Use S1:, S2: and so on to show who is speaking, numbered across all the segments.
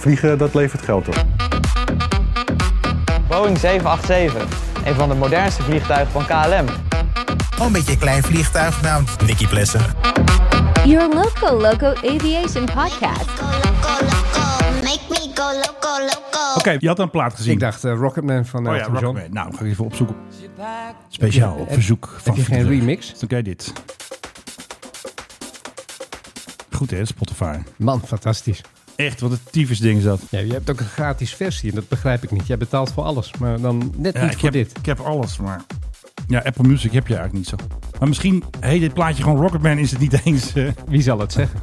S1: Vliegen, dat levert geld op.
S2: Boeing 787, een van de modernste vliegtuigen van KLM.
S3: Oh, een beetje een klein vliegtuig genaamd Nicky Plessen.
S4: Your local loco aviation podcast.
S5: Go loco, loco, make me go loco, loco.
S6: Oké, je had een plaat gezien.
S7: Ik dacht eh, Rocketman van
S6: Oh
S7: Elton
S6: ja,
S7: John.
S6: Rocketman. Nou, ga ik even opzoeken. Speciaal op
S7: Heb-
S6: verzoek van
S7: Heb je geen
S6: Pieter.
S7: remix?
S6: Oké, dit. Goed hè, Spotify.
S7: Man, fantastisch.
S6: Echt, wat een tyfus ding is dat.
S7: Ja, je hebt ook een gratis versie en dat begrijp ik niet. Jij betaalt voor alles, maar dan net
S6: Ja,
S7: niet
S6: ik,
S7: voor
S6: heb,
S7: dit.
S6: ik heb alles, maar... Ja, Apple Music heb je eigenlijk niet zo. Maar misschien heet dit plaatje gewoon Rocketman, is het niet eens... eh.
S7: Wie zal het zeggen?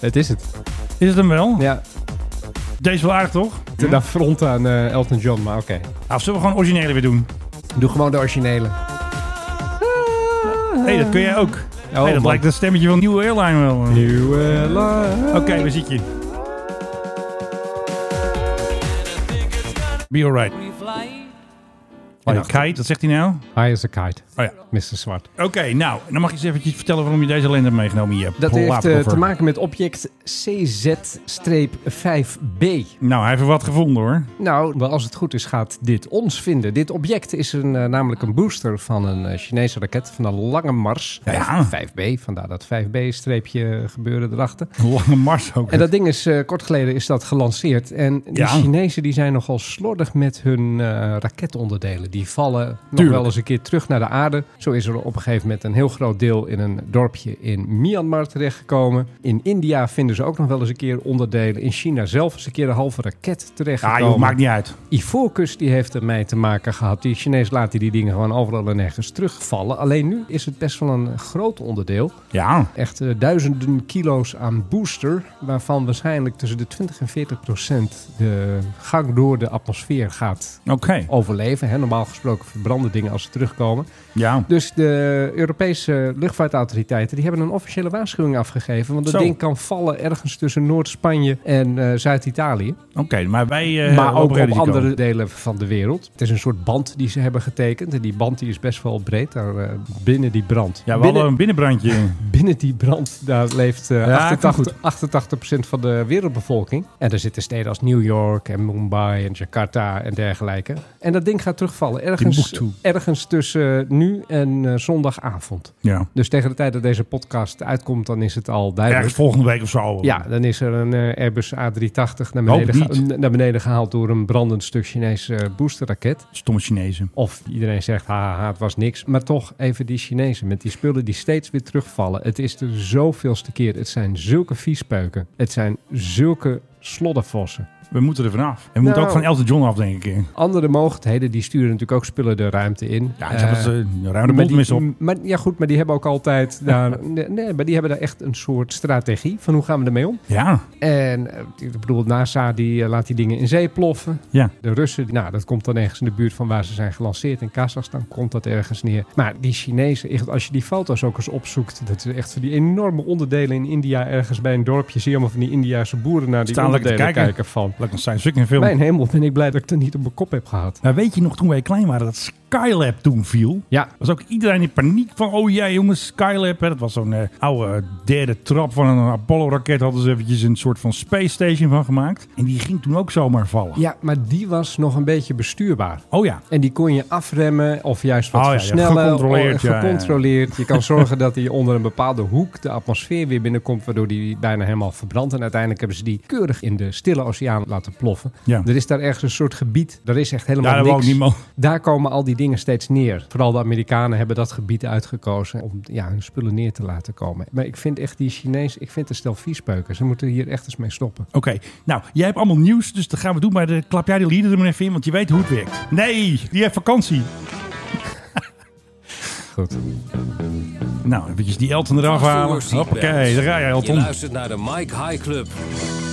S7: Het is het.
S6: Is het hem wel?
S7: Ja,
S6: Deze is wel aardig, toch?
S7: ten affront aan eh, Elton John, maar oké.
S6: Nou, of zullen we gewoon originele weer doen?
S7: Doe gewoon de originele.
S6: Hé, hey, dat kun jij ook.
S7: Eh. Oh,
S6: hey, dat
S7: man.
S6: lijkt het stemmetje van Nieuwe Airline wel. eh. Oké,
S7: Nieuwe la-
S6: we zien je. Be alright. Like
S7: achter.
S6: kite, dat zegt hij nou?
S7: High as a kite,
S6: Oh ja.
S7: Mr. Zwart.
S6: Oké, nou, dan mag je eens eventjes vertellen waarom je deze alleen hebt meegenomen hier.
S7: Dat heeft eh,
S6: Plaatcover.
S7: te maken met object CZ-5b.
S6: Nou, hij heeft er wat gevonden hoor.
S7: Nou, wel, als het goed is, gaat dit ons vinden. Dit object is een, eh, namelijk een booster van een eh, Chinese raket van de Lange Mars.
S6: Ja.
S7: 5B, vandaar dat 5B-streepje gebeuren erachter.
S6: Lange Mars ook.
S7: En dat ding is, eh, kort geleden is dat gelanceerd. En de
S6: Ja.
S7: Chinezen die zijn nogal slordig met hun eh, raketonderdelen. Die vallen nog
S6: Tuurlijk.
S7: wel eens een keer terug naar de aarde. Zo is er op een gegeven moment een heel groot deel in een dorpje in Myanmar terechtgekomen. In India vinden ze ook nog wel eens een keer onderdelen. In China zelf is een keer een halve
S6: Ah,
S7: raket
S6: ja,
S7: terechtgekomen.
S6: joh, maakt niet uit.
S7: Ivoorkust die heeft ermee te maken gehad. Die Chinees laten die dingen gewoon overal en nergens terugvallen. Alleen nu is het best wel een groot onderdeel.
S6: Ja,
S7: Echt eh, duizenden kilo's aan booster, waarvan waarschijnlijk tussen de 20 en 40 procent de gang door de atmosfeer gaat
S6: oké.
S7: overleven. Hè, normaal gesproken verbranden dingen als ze terugkomen.
S6: Ja.
S7: Dus de Europese luchtvaartautoriteiten die hebben een officiële waarschuwing afgegeven. Want dat
S6: Zo.
S7: ding kan vallen ergens tussen Noord-Spanje en eh, Zuid-Italië.
S6: Oké, maar wij... eh
S7: maar ook
S6: lopen
S7: op
S6: risico.
S7: andere delen van de wereld. Het is een soort band die ze hebben getekend. En die band die is best wel breed daar eh, binnen die brand.
S6: Ja, we
S7: binnen,
S6: hadden een binnenbrandje.
S7: binnen die brand daar leeft eh,
S6: Ja,
S7: 88, 88% van de wereldbevolking. En daar zitten steden als New York en Mumbai en Jakarta en dergelijke. En dat ding gaat terugvallen ergens,
S6: Timbuktu.
S7: ergens tussen nu en eh, zondagavond.
S6: ja.
S7: Dus tegen de tijd dat deze podcast uitkomt, dan is het al duidelijk.
S6: Ergens volgende week of zo.
S7: Ja, dan is er een eh, Airbus A380 naar
S6: Hoop
S7: beneden,
S6: niet.
S7: geha- naar beneden gehaald door een brandend stuk Chinese eh, boosterraket.
S6: Stomme Chinezen.
S7: Of iedereen zegt, haha, het was niks. Maar toch even die Chinezen met die spullen die steeds weer terugvallen. Het is de zoveelste keer. Het zijn zulke viespeuken. Het zijn zulke sloddervossen.
S6: We moeten er vanaf. En we moeten
S7: Nou.
S6: ook van Elton John af, denk ik.
S7: Andere mogelijkheden, die sturen natuurlijk ook spullen de ruimte in.
S6: Ja,
S7: Eh,
S6: ik zeg dat ze ruim de
S7: maar
S6: boel
S7: die-
S6: mis op.
S7: maar, ja, goed, maar die hebben ook altijd daar. Nee, nee, maar die hebben daar echt een soort strategie van hoe gaan we ermee om.
S6: Ja,
S7: En eh, ik bedoel, NASA die eh, laat die dingen in zee ploffen.
S6: ja.
S7: De Russen, nou, dat komt dan ergens in de buurt van waar ze zijn gelanceerd. In Kazachstan komt dat ergens neer. Maar die Chinezen, echt, als je die foto's ook eens opzoekt, dat is echt van die enorme onderdelen in India ergens bij een dorpje. Zie je allemaal van die Indiase boeren naar die
S6: Staan lekker te
S7: onderdelen kijken.
S6: kijken.
S7: van.
S6: Lekker een science fiction film.
S7: Mijn hemel, ben ik blij dat ik dat niet op mijn kop heb gehad.
S6: Maar weet je nog toen wij klein waren dat Skylab toen viel?
S7: Ja,
S6: Was ook iedereen in paniek van, oh ja jongens, Skylab. Hè, dat was zo'n eh, oude derde trap van een Apollo-raket. Hadden ze eventjes een soort van space station van gemaakt. En die ging toen ook zomaar vallen.
S7: ja, maar die was nog een beetje bestuurbaar.
S6: Oh ja.
S7: En die kon je afremmen of juist wat
S6: Oh ja, ja,
S7: versnellen.
S6: gecontroleerd,
S7: o-
S6: ja, ja.
S7: gecontroleerd. Je kan zorgen dat hij onder een bepaalde hoek de atmosfeer weer binnenkomt... waardoor die bijna helemaal verbrandt. En uiteindelijk hebben ze die keurig in de stille oceaan laten ploffen.
S6: Ja.
S7: Er is daar ergens een soort gebied. Daar is echt helemaal
S6: Ja, dat
S7: niks.
S6: wou ik niet mogen.
S7: daar komen al die dingen steeds neer. Vooral de Amerikanen hebben dat gebied uitgekozen... om ja, hun spullen neer te laten komen. Maar ik vind echt die Chinezen... Ik vind het een stel viespeuken. Ze moeten hier echt eens mee stoppen.
S6: Oké, nou, jij hebt allemaal nieuws, dus dat gaan we doen. Maar de, klap jij de leader er maar even in, want je weet hoe het werkt. Nee, die heeft vakantie.
S7: Goed.
S6: Nou, eventjes die Elton eraf halen. Hoppakee, daar ga je
S8: Je
S6: Elton.
S8: luistert naar de Mike High Club.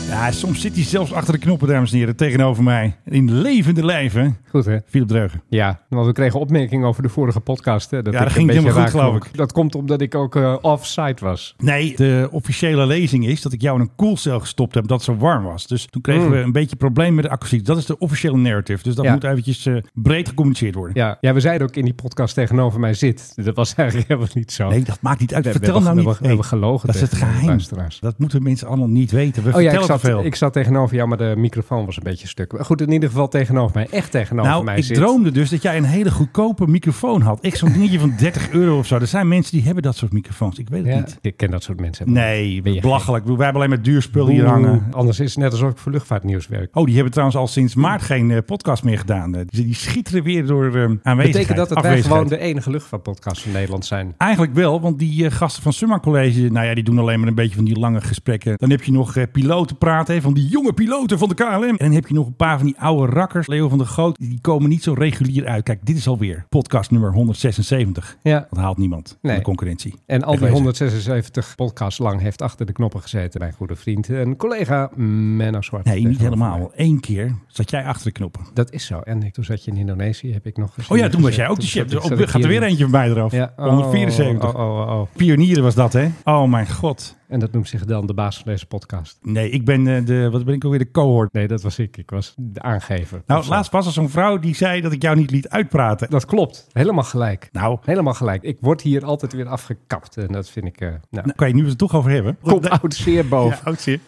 S6: Ja, soms zit hij zelfs achter de knoppen, dames en heren, tegenover mij. In levende lijven,
S7: Goed hè?
S6: Philip Dreugen.
S7: Ja, want we kregen opmerkingen over de vorige podcast. Hè, dat
S6: Ja,
S7: ik
S6: dat
S7: een
S6: ging
S7: beetje
S6: helemaal goed,
S7: raak
S6: geloof
S7: klonk. Dat komt omdat ik ook eh, off-site was.
S6: Nee, de officiële lezing is dat ik jou in een koelcel gestopt heb, dat het zo warm was. Dus toen kregen
S7: Mm.
S6: we een beetje probleem met de akoestiek. Dat is de officiële narrative, dus dat
S7: Ja.
S6: moet eventjes eh, breed gecommuniceerd worden.
S7: Ja. ja, we zeiden ook in die podcast tegenover mij zit. Dat was eigenlijk helemaal niet zo.
S6: Nee, dat maakt niet uit.
S7: We- we
S6: Vertel
S7: hebben-
S6: nou
S7: we
S6: niet.
S7: hebben-
S6: Nee,
S7: we hebben gelogen
S6: Dat is het
S7: tegen de
S6: geheim.
S7: luisteraars.
S6: Dat moeten mensen allemaal niet weten. We
S7: Oh ja, ik
S6: vertellen
S7: zat,
S6: te veel.
S7: ik zat tegenover jou, maar de microfoon was een beetje stuk. Maar Goed, in ieder geval tegenover mij. Echt tegenover
S6: nou,
S7: mij
S6: ik
S7: zit.
S6: droomde dus dat jij een hele goedkope microfoon had. Ik zo'n dingetje van 30 euro of zo. Er zijn mensen die hebben dat soort microfoons. Ik weet het
S7: Ja,
S6: niet.
S7: ik ken dat soort mensen.
S6: Nee,
S7: Ben je
S6: belachelijk. Wij hebben alleen maar duur spul
S7: Oeh,
S6: hier hangen.
S7: Anders is het net alsof ik voor luchtvaartnieuws werk.
S6: Oh, die hebben trouwens al sinds maart geen eh, podcast meer gedaan. Eh, die, die schitteren weer door ehm aanwezigheid.
S7: Betekent dat dat wij
S6: afwezigheid.
S7: gewoon de enige luchtvaartpodcast van Nederland zijn?
S6: Eigenlijk wel, want die eh, gasten van Summa College, nou ja, die doen alleen maar een beetje van die lange gesprekken. Dan heb je nog eh, piloten praten, hè, van die jonge piloten van de KLM. En dan heb je nog een paar van die oude rakkers, Leo van der Goot, die komen niet zo regulier uit. Kijk, dit is alweer podcast nummer 176.
S7: Ja.
S6: Dat haalt niemand
S7: Nee.
S6: van de concurrentie.
S7: En al die
S6: Wegwezen.
S7: 176 podcasts lang heeft achter de knoppen gezeten mijn goede vriend en collega Menno Zwart.
S6: Nee, niet
S7: Tegenover
S6: helemaal.
S7: mij.
S6: Eén keer zat jij achter de knoppen.
S7: Dat is zo. En toen zat je in Indonesië, heb ik nog gezien.
S6: Oh ja, toen was
S7: Zat-
S6: jij ook de chef.
S7: zat ik-
S6: Dus ook,
S7: zat ik
S6: gaat er
S7: hier
S6: weer
S7: in-
S6: eentje bij mij eraf.
S7: Ja, oh,
S6: 174.
S7: Oh, oh, oh, oh.
S6: Pionieren was dat, hè? Oh mijn god.
S7: En dat noemt zich dan de baas van deze podcast.
S6: Nee, ik ben eh, de, wat ben ik alweer, de cohort.
S7: Nee, dat was ik. Ik was de aangever. Of
S6: Nou,
S7: zo.
S6: laatst was er zo'n vrouw die zei dat ik jou niet liet uitpraten.
S7: Dat klopt. Helemaal gelijk.
S6: Nou,
S7: Helemaal gelijk. Ik word hier altijd weer afgekapt. En dat vind ik... eh nou,
S6: nou kan je het nu het toch over hebben?
S7: komt oud zeer
S6: Ja, oh,
S7: boven.
S6: oud zeer.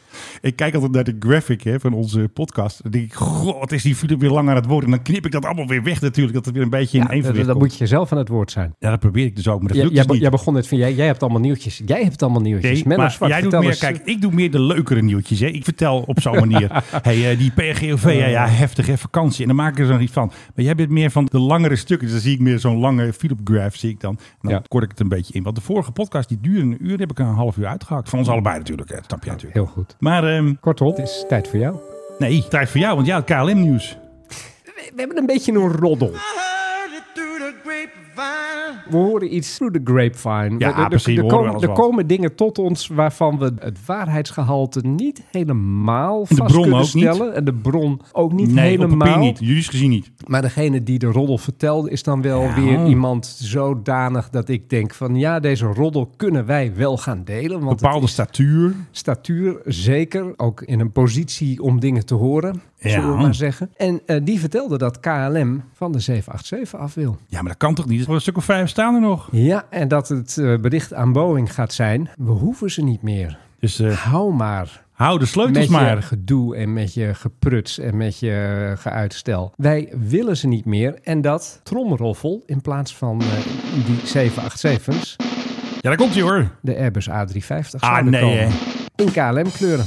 S6: Ik kijk altijd naar de graphic hè, van onze podcast. Dan denk ik, god, wat is die Philip weer lang aan het woord? En dan knip ik dat allemaal weer weg natuurlijk, dat het weer een beetje in
S7: dat,
S6: evenwicht
S7: dat
S6: komt.
S7: moet je zelf aan het woord zijn.
S6: Ja, dat probeer ik dus ook, maar dat
S7: Jij,
S6: lukt
S7: jij,
S6: dus niet.
S7: jij begon net van, jij, jij hebt allemaal nieuwtjes. Jij hebt allemaal nieuwtjes.
S6: Nee,
S7: Menno
S6: maar
S7: Zwart,
S6: jij doet
S7: vertel
S6: meer,
S7: eens.
S6: kijk, ik doe meer de leukere nieuwtjes. Hè. Ik vertel op zo'n manier. hey, eh, die PRGOV, ja, ja,
S7: Oh.
S6: heftig, hè, vakantie. En dan maak ik er zo iets van. Maar jij bent meer van de langere stukken. Dus dan zie ik meer zo'n lange Philip Graph, zie ik dan. En dan
S7: Ja.
S6: kort ik het een beetje in. Want de vorige podcast, die duurde een uur, heb ik een half uur uitgehakt.
S7: Mm.
S6: Van ons allebei natuurlijk, hè. dat snap je natuurlijk.
S7: Heel goed.
S6: Maar ehm,
S7: Kortom, het is tijd voor jou.
S6: nee, tijd voor jou, want ja, het KLM-nieuws.
S7: We hebben een beetje een roddel. We horen iets through the grapevine.
S6: Ja,
S7: er, er-
S6: precies,
S7: Er,
S6: we horen
S7: komen,
S6: alles
S7: er
S6: wat.
S7: komen dingen tot ons waarvan we het waarheidsgehalte niet helemaal
S6: de
S7: vast
S6: bron
S7: kunnen
S6: ook niet.
S7: stellen. En de bron ook niet
S6: nee, op
S7: helemaal.
S6: papier niet. Juridisch gezien niet.
S7: Maar degene die de roddel vertelt is dan wel weer iemand zodanig dat ik denk van... ja, deze roddel kunnen wij wel gaan delen. Want
S6: Bepaalde
S7: het is
S6: statuur.
S7: statuur zeker, ook in een positie om dingen te horen, zullen we
S6: Ja.
S7: maar zeggen. En eh, die vertelde dat KLM van de 787 af wil.
S6: Ja, maar dat kan toch niet? Voor een stuk of vijf staan er nog.
S7: Ja, en dat het eh, bericht aan Boeing gaat zijn, we hoeven ze niet meer.
S6: Dus eh,
S7: Hou maar
S6: hou de sleutels
S7: met je
S6: maar.
S7: gedoe en met je gepruts en met je eh, geuitstel. Wij willen ze niet meer en dat tromroffel in plaats van eh, die 787's,
S6: Ja, daar komt hij hoor.
S7: de Airbus A350
S6: Ah,
S7: zouden
S6: nee,
S7: komen.
S6: hè.
S7: In KLM kleuren.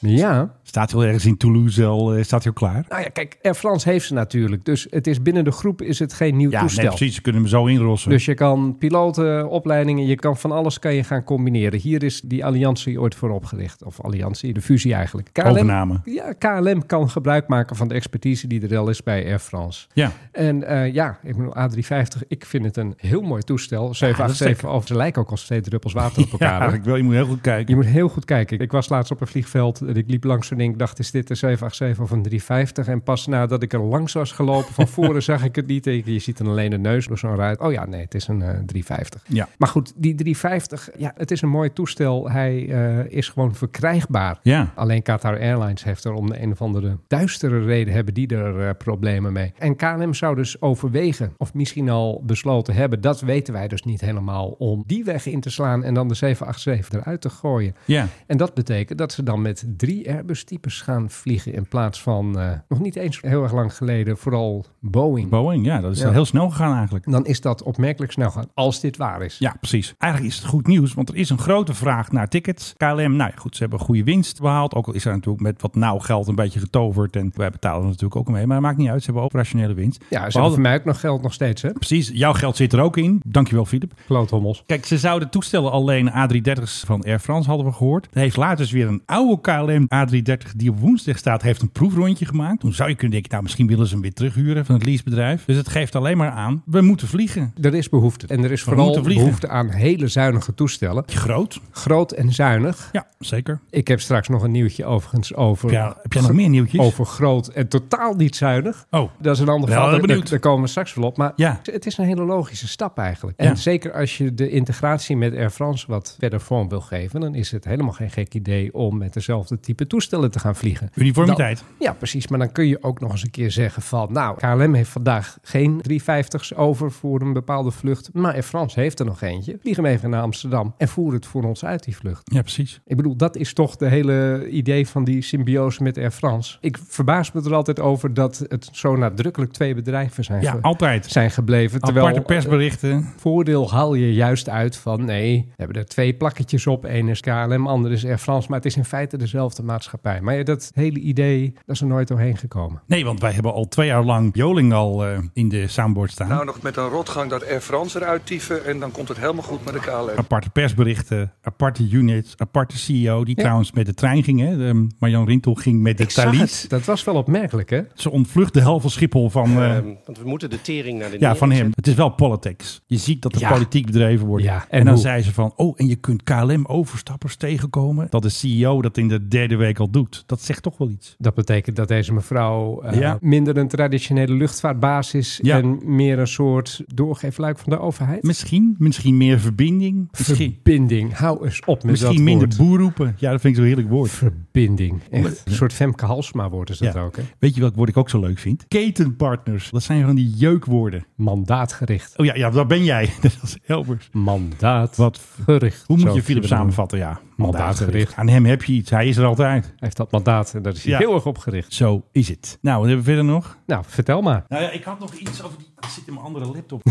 S7: Ja.
S6: Staat hij al ergens in Toulouse al, eh, staat hij al klaar?
S7: Nou ja, kijk, Air France heeft ze natuurlijk. Dus het is binnen de groep is het geen nieuw
S6: Ja, nee,
S7: toestel.
S6: precies. Ze kunnen hem zo inrossen.
S7: Dus je kan piloten, opleidingen, je kan van alles kan je gaan combineren. Hier is die alliantie ooit voor opgericht. Of alliantie, de fusie eigenlijk. KLM,
S6: Overname.
S7: Ja, KLM kan gebruik maken van de expertise die er al is bij Air France.
S6: Ja,
S7: En eh, ja, ik bedoel, A350, ik vind het een heel mooi toestel.
S6: dat is
S7: 787, over oh, ze lijken ook als twee druppels water op elkaar. hoor.
S6: eigenlijk wel. Je moet heel goed kijken.
S7: Je moet heel goed kijken. Ik was laatst op een vliegveld en ik liep langs zo'n ding. Ik dacht, is dit een 787 of een 350? En pas nadat ik er langs was gelopen, van voren zag ik het niet. En Je ziet dan alleen de neus door zo'n ruit. Oh ja, nee, het is een eh, 350.
S6: Ja.
S7: Maar goed, die 350, ja, het is een mooi toestel. Hij eh, is gewoon verkrijgbaar.
S6: Ja.
S7: Alleen Qatar Airlines heeft er om de een of andere duistere reden hebben die er eh, problemen mee. En KLM zou dus overwegen, of misschien al besloten hebben, dat weten wij dus niet helemaal, om die weg in te slaan en dan de 787 eruit te gooien.
S6: Ja.
S7: En dat betekent dat ze dan met drie Airbus-types gaan vliegen in plaats van, eh, nog niet eens heel erg lang geleden, vooral Boeing.
S6: Boeing, ja, dat is
S7: Ja.
S6: dan heel snel gegaan eigenlijk.
S7: dan is dat opmerkelijk snel gaan, als dit waar is.
S6: Ja, precies. Eigenlijk is het goed nieuws, want er is een grote vraag naar tickets. KLM, nou ja, goed, ze hebben een goede winst behaald. Ook al is er natuurlijk met wat nauw geld een beetje getoverd. En wij betalen er natuurlijk ook mee, maar dat maakt niet uit. Ze hebben operationele winst.
S7: Ja, ze
S6: We
S7: hebben
S6: hadden-
S7: voor mij ook nog geld nog steeds, hè?
S6: Precies, jouw geld zit er ook in. Dankjewel, Filip.
S7: Kloothommels.
S6: Kijk, ze zouden toestellen alleen A330's van Air France, hadden we gehoord. Er heeft later dus weer een oude KLM A330 A330 die op woensdag staat, heeft een proefrondje gemaakt. Toen zou je kunnen denken, nou misschien willen ze hem weer terughuren van het leasebedrijf. Dus het geeft alleen maar aan, we moeten vliegen.
S7: Er is behoefte. En er is vooral
S6: moeten vliegen.
S7: behoefte aan hele zuinige toestellen.
S6: Groot.
S7: Groot en zuinig.
S6: Ja, zeker.
S7: Ik heb straks nog een nieuwtje overigens over...
S6: Ja, heb jij nog meer nieuwtjes?
S7: Over groot en totaal niet zuinig.
S6: Oh,
S7: Dat is een
S6: Wel,
S7: ander verhaal.
S6: ben
S7: Daar-
S6: benieuwd.
S7: Daar komen we straks wel op. Maar
S6: Ja.
S7: het is een hele logische stap eigenlijk.
S6: Ja.
S7: En zeker als je de integratie met Air France wat verder vorm wil geven, dan is het helemaal geen gek idee om met dezelfde type toestellen te gaan vliegen.
S6: uniformiteit.
S7: Dan- ja, precies. Maar dan kun je ook nog eens een keer zeggen van, nou, KLM heeft vandaag geen 350's over voor een bepaalde vlucht, maar Air France heeft er nog eentje. Vlieg hem even naar Amsterdam en voer het voor ons uit, die vlucht.
S6: Ja, precies.
S7: Ik bedoel, dat is toch de hele idee van die symbiose met Air France. Ik verbaas me er altijd over dat het zo nadrukkelijk twee bedrijven zijn,
S6: Ja,
S7: ge-
S6: altijd.
S7: zijn gebleven. Terwijl
S6: Aparte persberichten.
S7: eh, voordeel haal je juist uit van nee, we hebben er twee plakketjes op. Eén is KLM, ander is Air France. Maar het is in feite dezelfde maatschappij. Maar ja, dat hele idee, dat is er nooit doorheen gekomen.
S6: Nee, want wij hebben al twee jaar lang Joling al eh, in de soundboard staan.
S8: Nou, nog met een rotgang dat Air France eruit tieven en dan komt het helemaal goed met de KLM.
S6: Aparte persberichten, aparte units, aparte CEO. Die
S7: Ja.
S6: trouwens met de trein ging. Hè? De, ehm, Marjan Rintel ging met de
S7: Ik zag
S6: Thalys.
S7: het. Dat was wel opmerkelijk, hè?
S6: Ze ontvlucht de hel van Schiphol van, eh,
S9: want we moeten de tering naar de
S6: ja, van
S9: nering
S6: hem. Het is wel politics. Je ziet dat er
S7: Ja.
S6: politiek bedreven wordt.
S7: Ja,
S6: En,
S7: en
S6: dan
S7: hoe?
S6: zei ze van, oh, en je kunt KLM-overstappers tegenkomen. Dat de CEO dat in de derde week al doet. Dat zegt toch wel iets.
S7: Dat betekent dat deze mevrouw eh,
S6: Ja.
S7: minder een traditionele luchtvaartbaas is
S6: Ja.
S7: en meer een soort doorgeefluik van de overheid.
S6: Misschien, misschien meer verbinding. Misschien,
S7: Verbinding. Hou eens op met
S6: misschien
S7: dat
S6: minder
S7: woord.
S6: boer roepen. Ja, dat vind ik zo'n heerlijk woord.
S7: Verbinding. Echt. Een soort Femke Halsma wordt is dat
S6: Ja.
S7: ook. Hè?
S6: Weet je welk woord ik ook zo leuk vind? Ketenpartners. Dat zijn van die jeukwoorden.
S7: Mandaatgericht.
S6: Oh ja, ja dat ben jij. Dat is Elbers.
S7: Mandaat.
S6: Wat,
S7: gericht.
S6: hoe moet
S7: Zo
S6: je Philip
S7: kunnen we-
S6: samenvatten? Ja,
S7: Mandaatgericht.
S6: Aan hem heb je iets. Hij is er altijd.
S7: Hij heeft dat mandaat en daar is hij
S6: Ja.
S7: heel erg op gericht.
S6: Zo is het. Nou, wat hebben we verder nog?
S7: Nou, vertel maar.
S6: Nou ja, ik had nog iets over die... Dat zit in mijn andere laptop.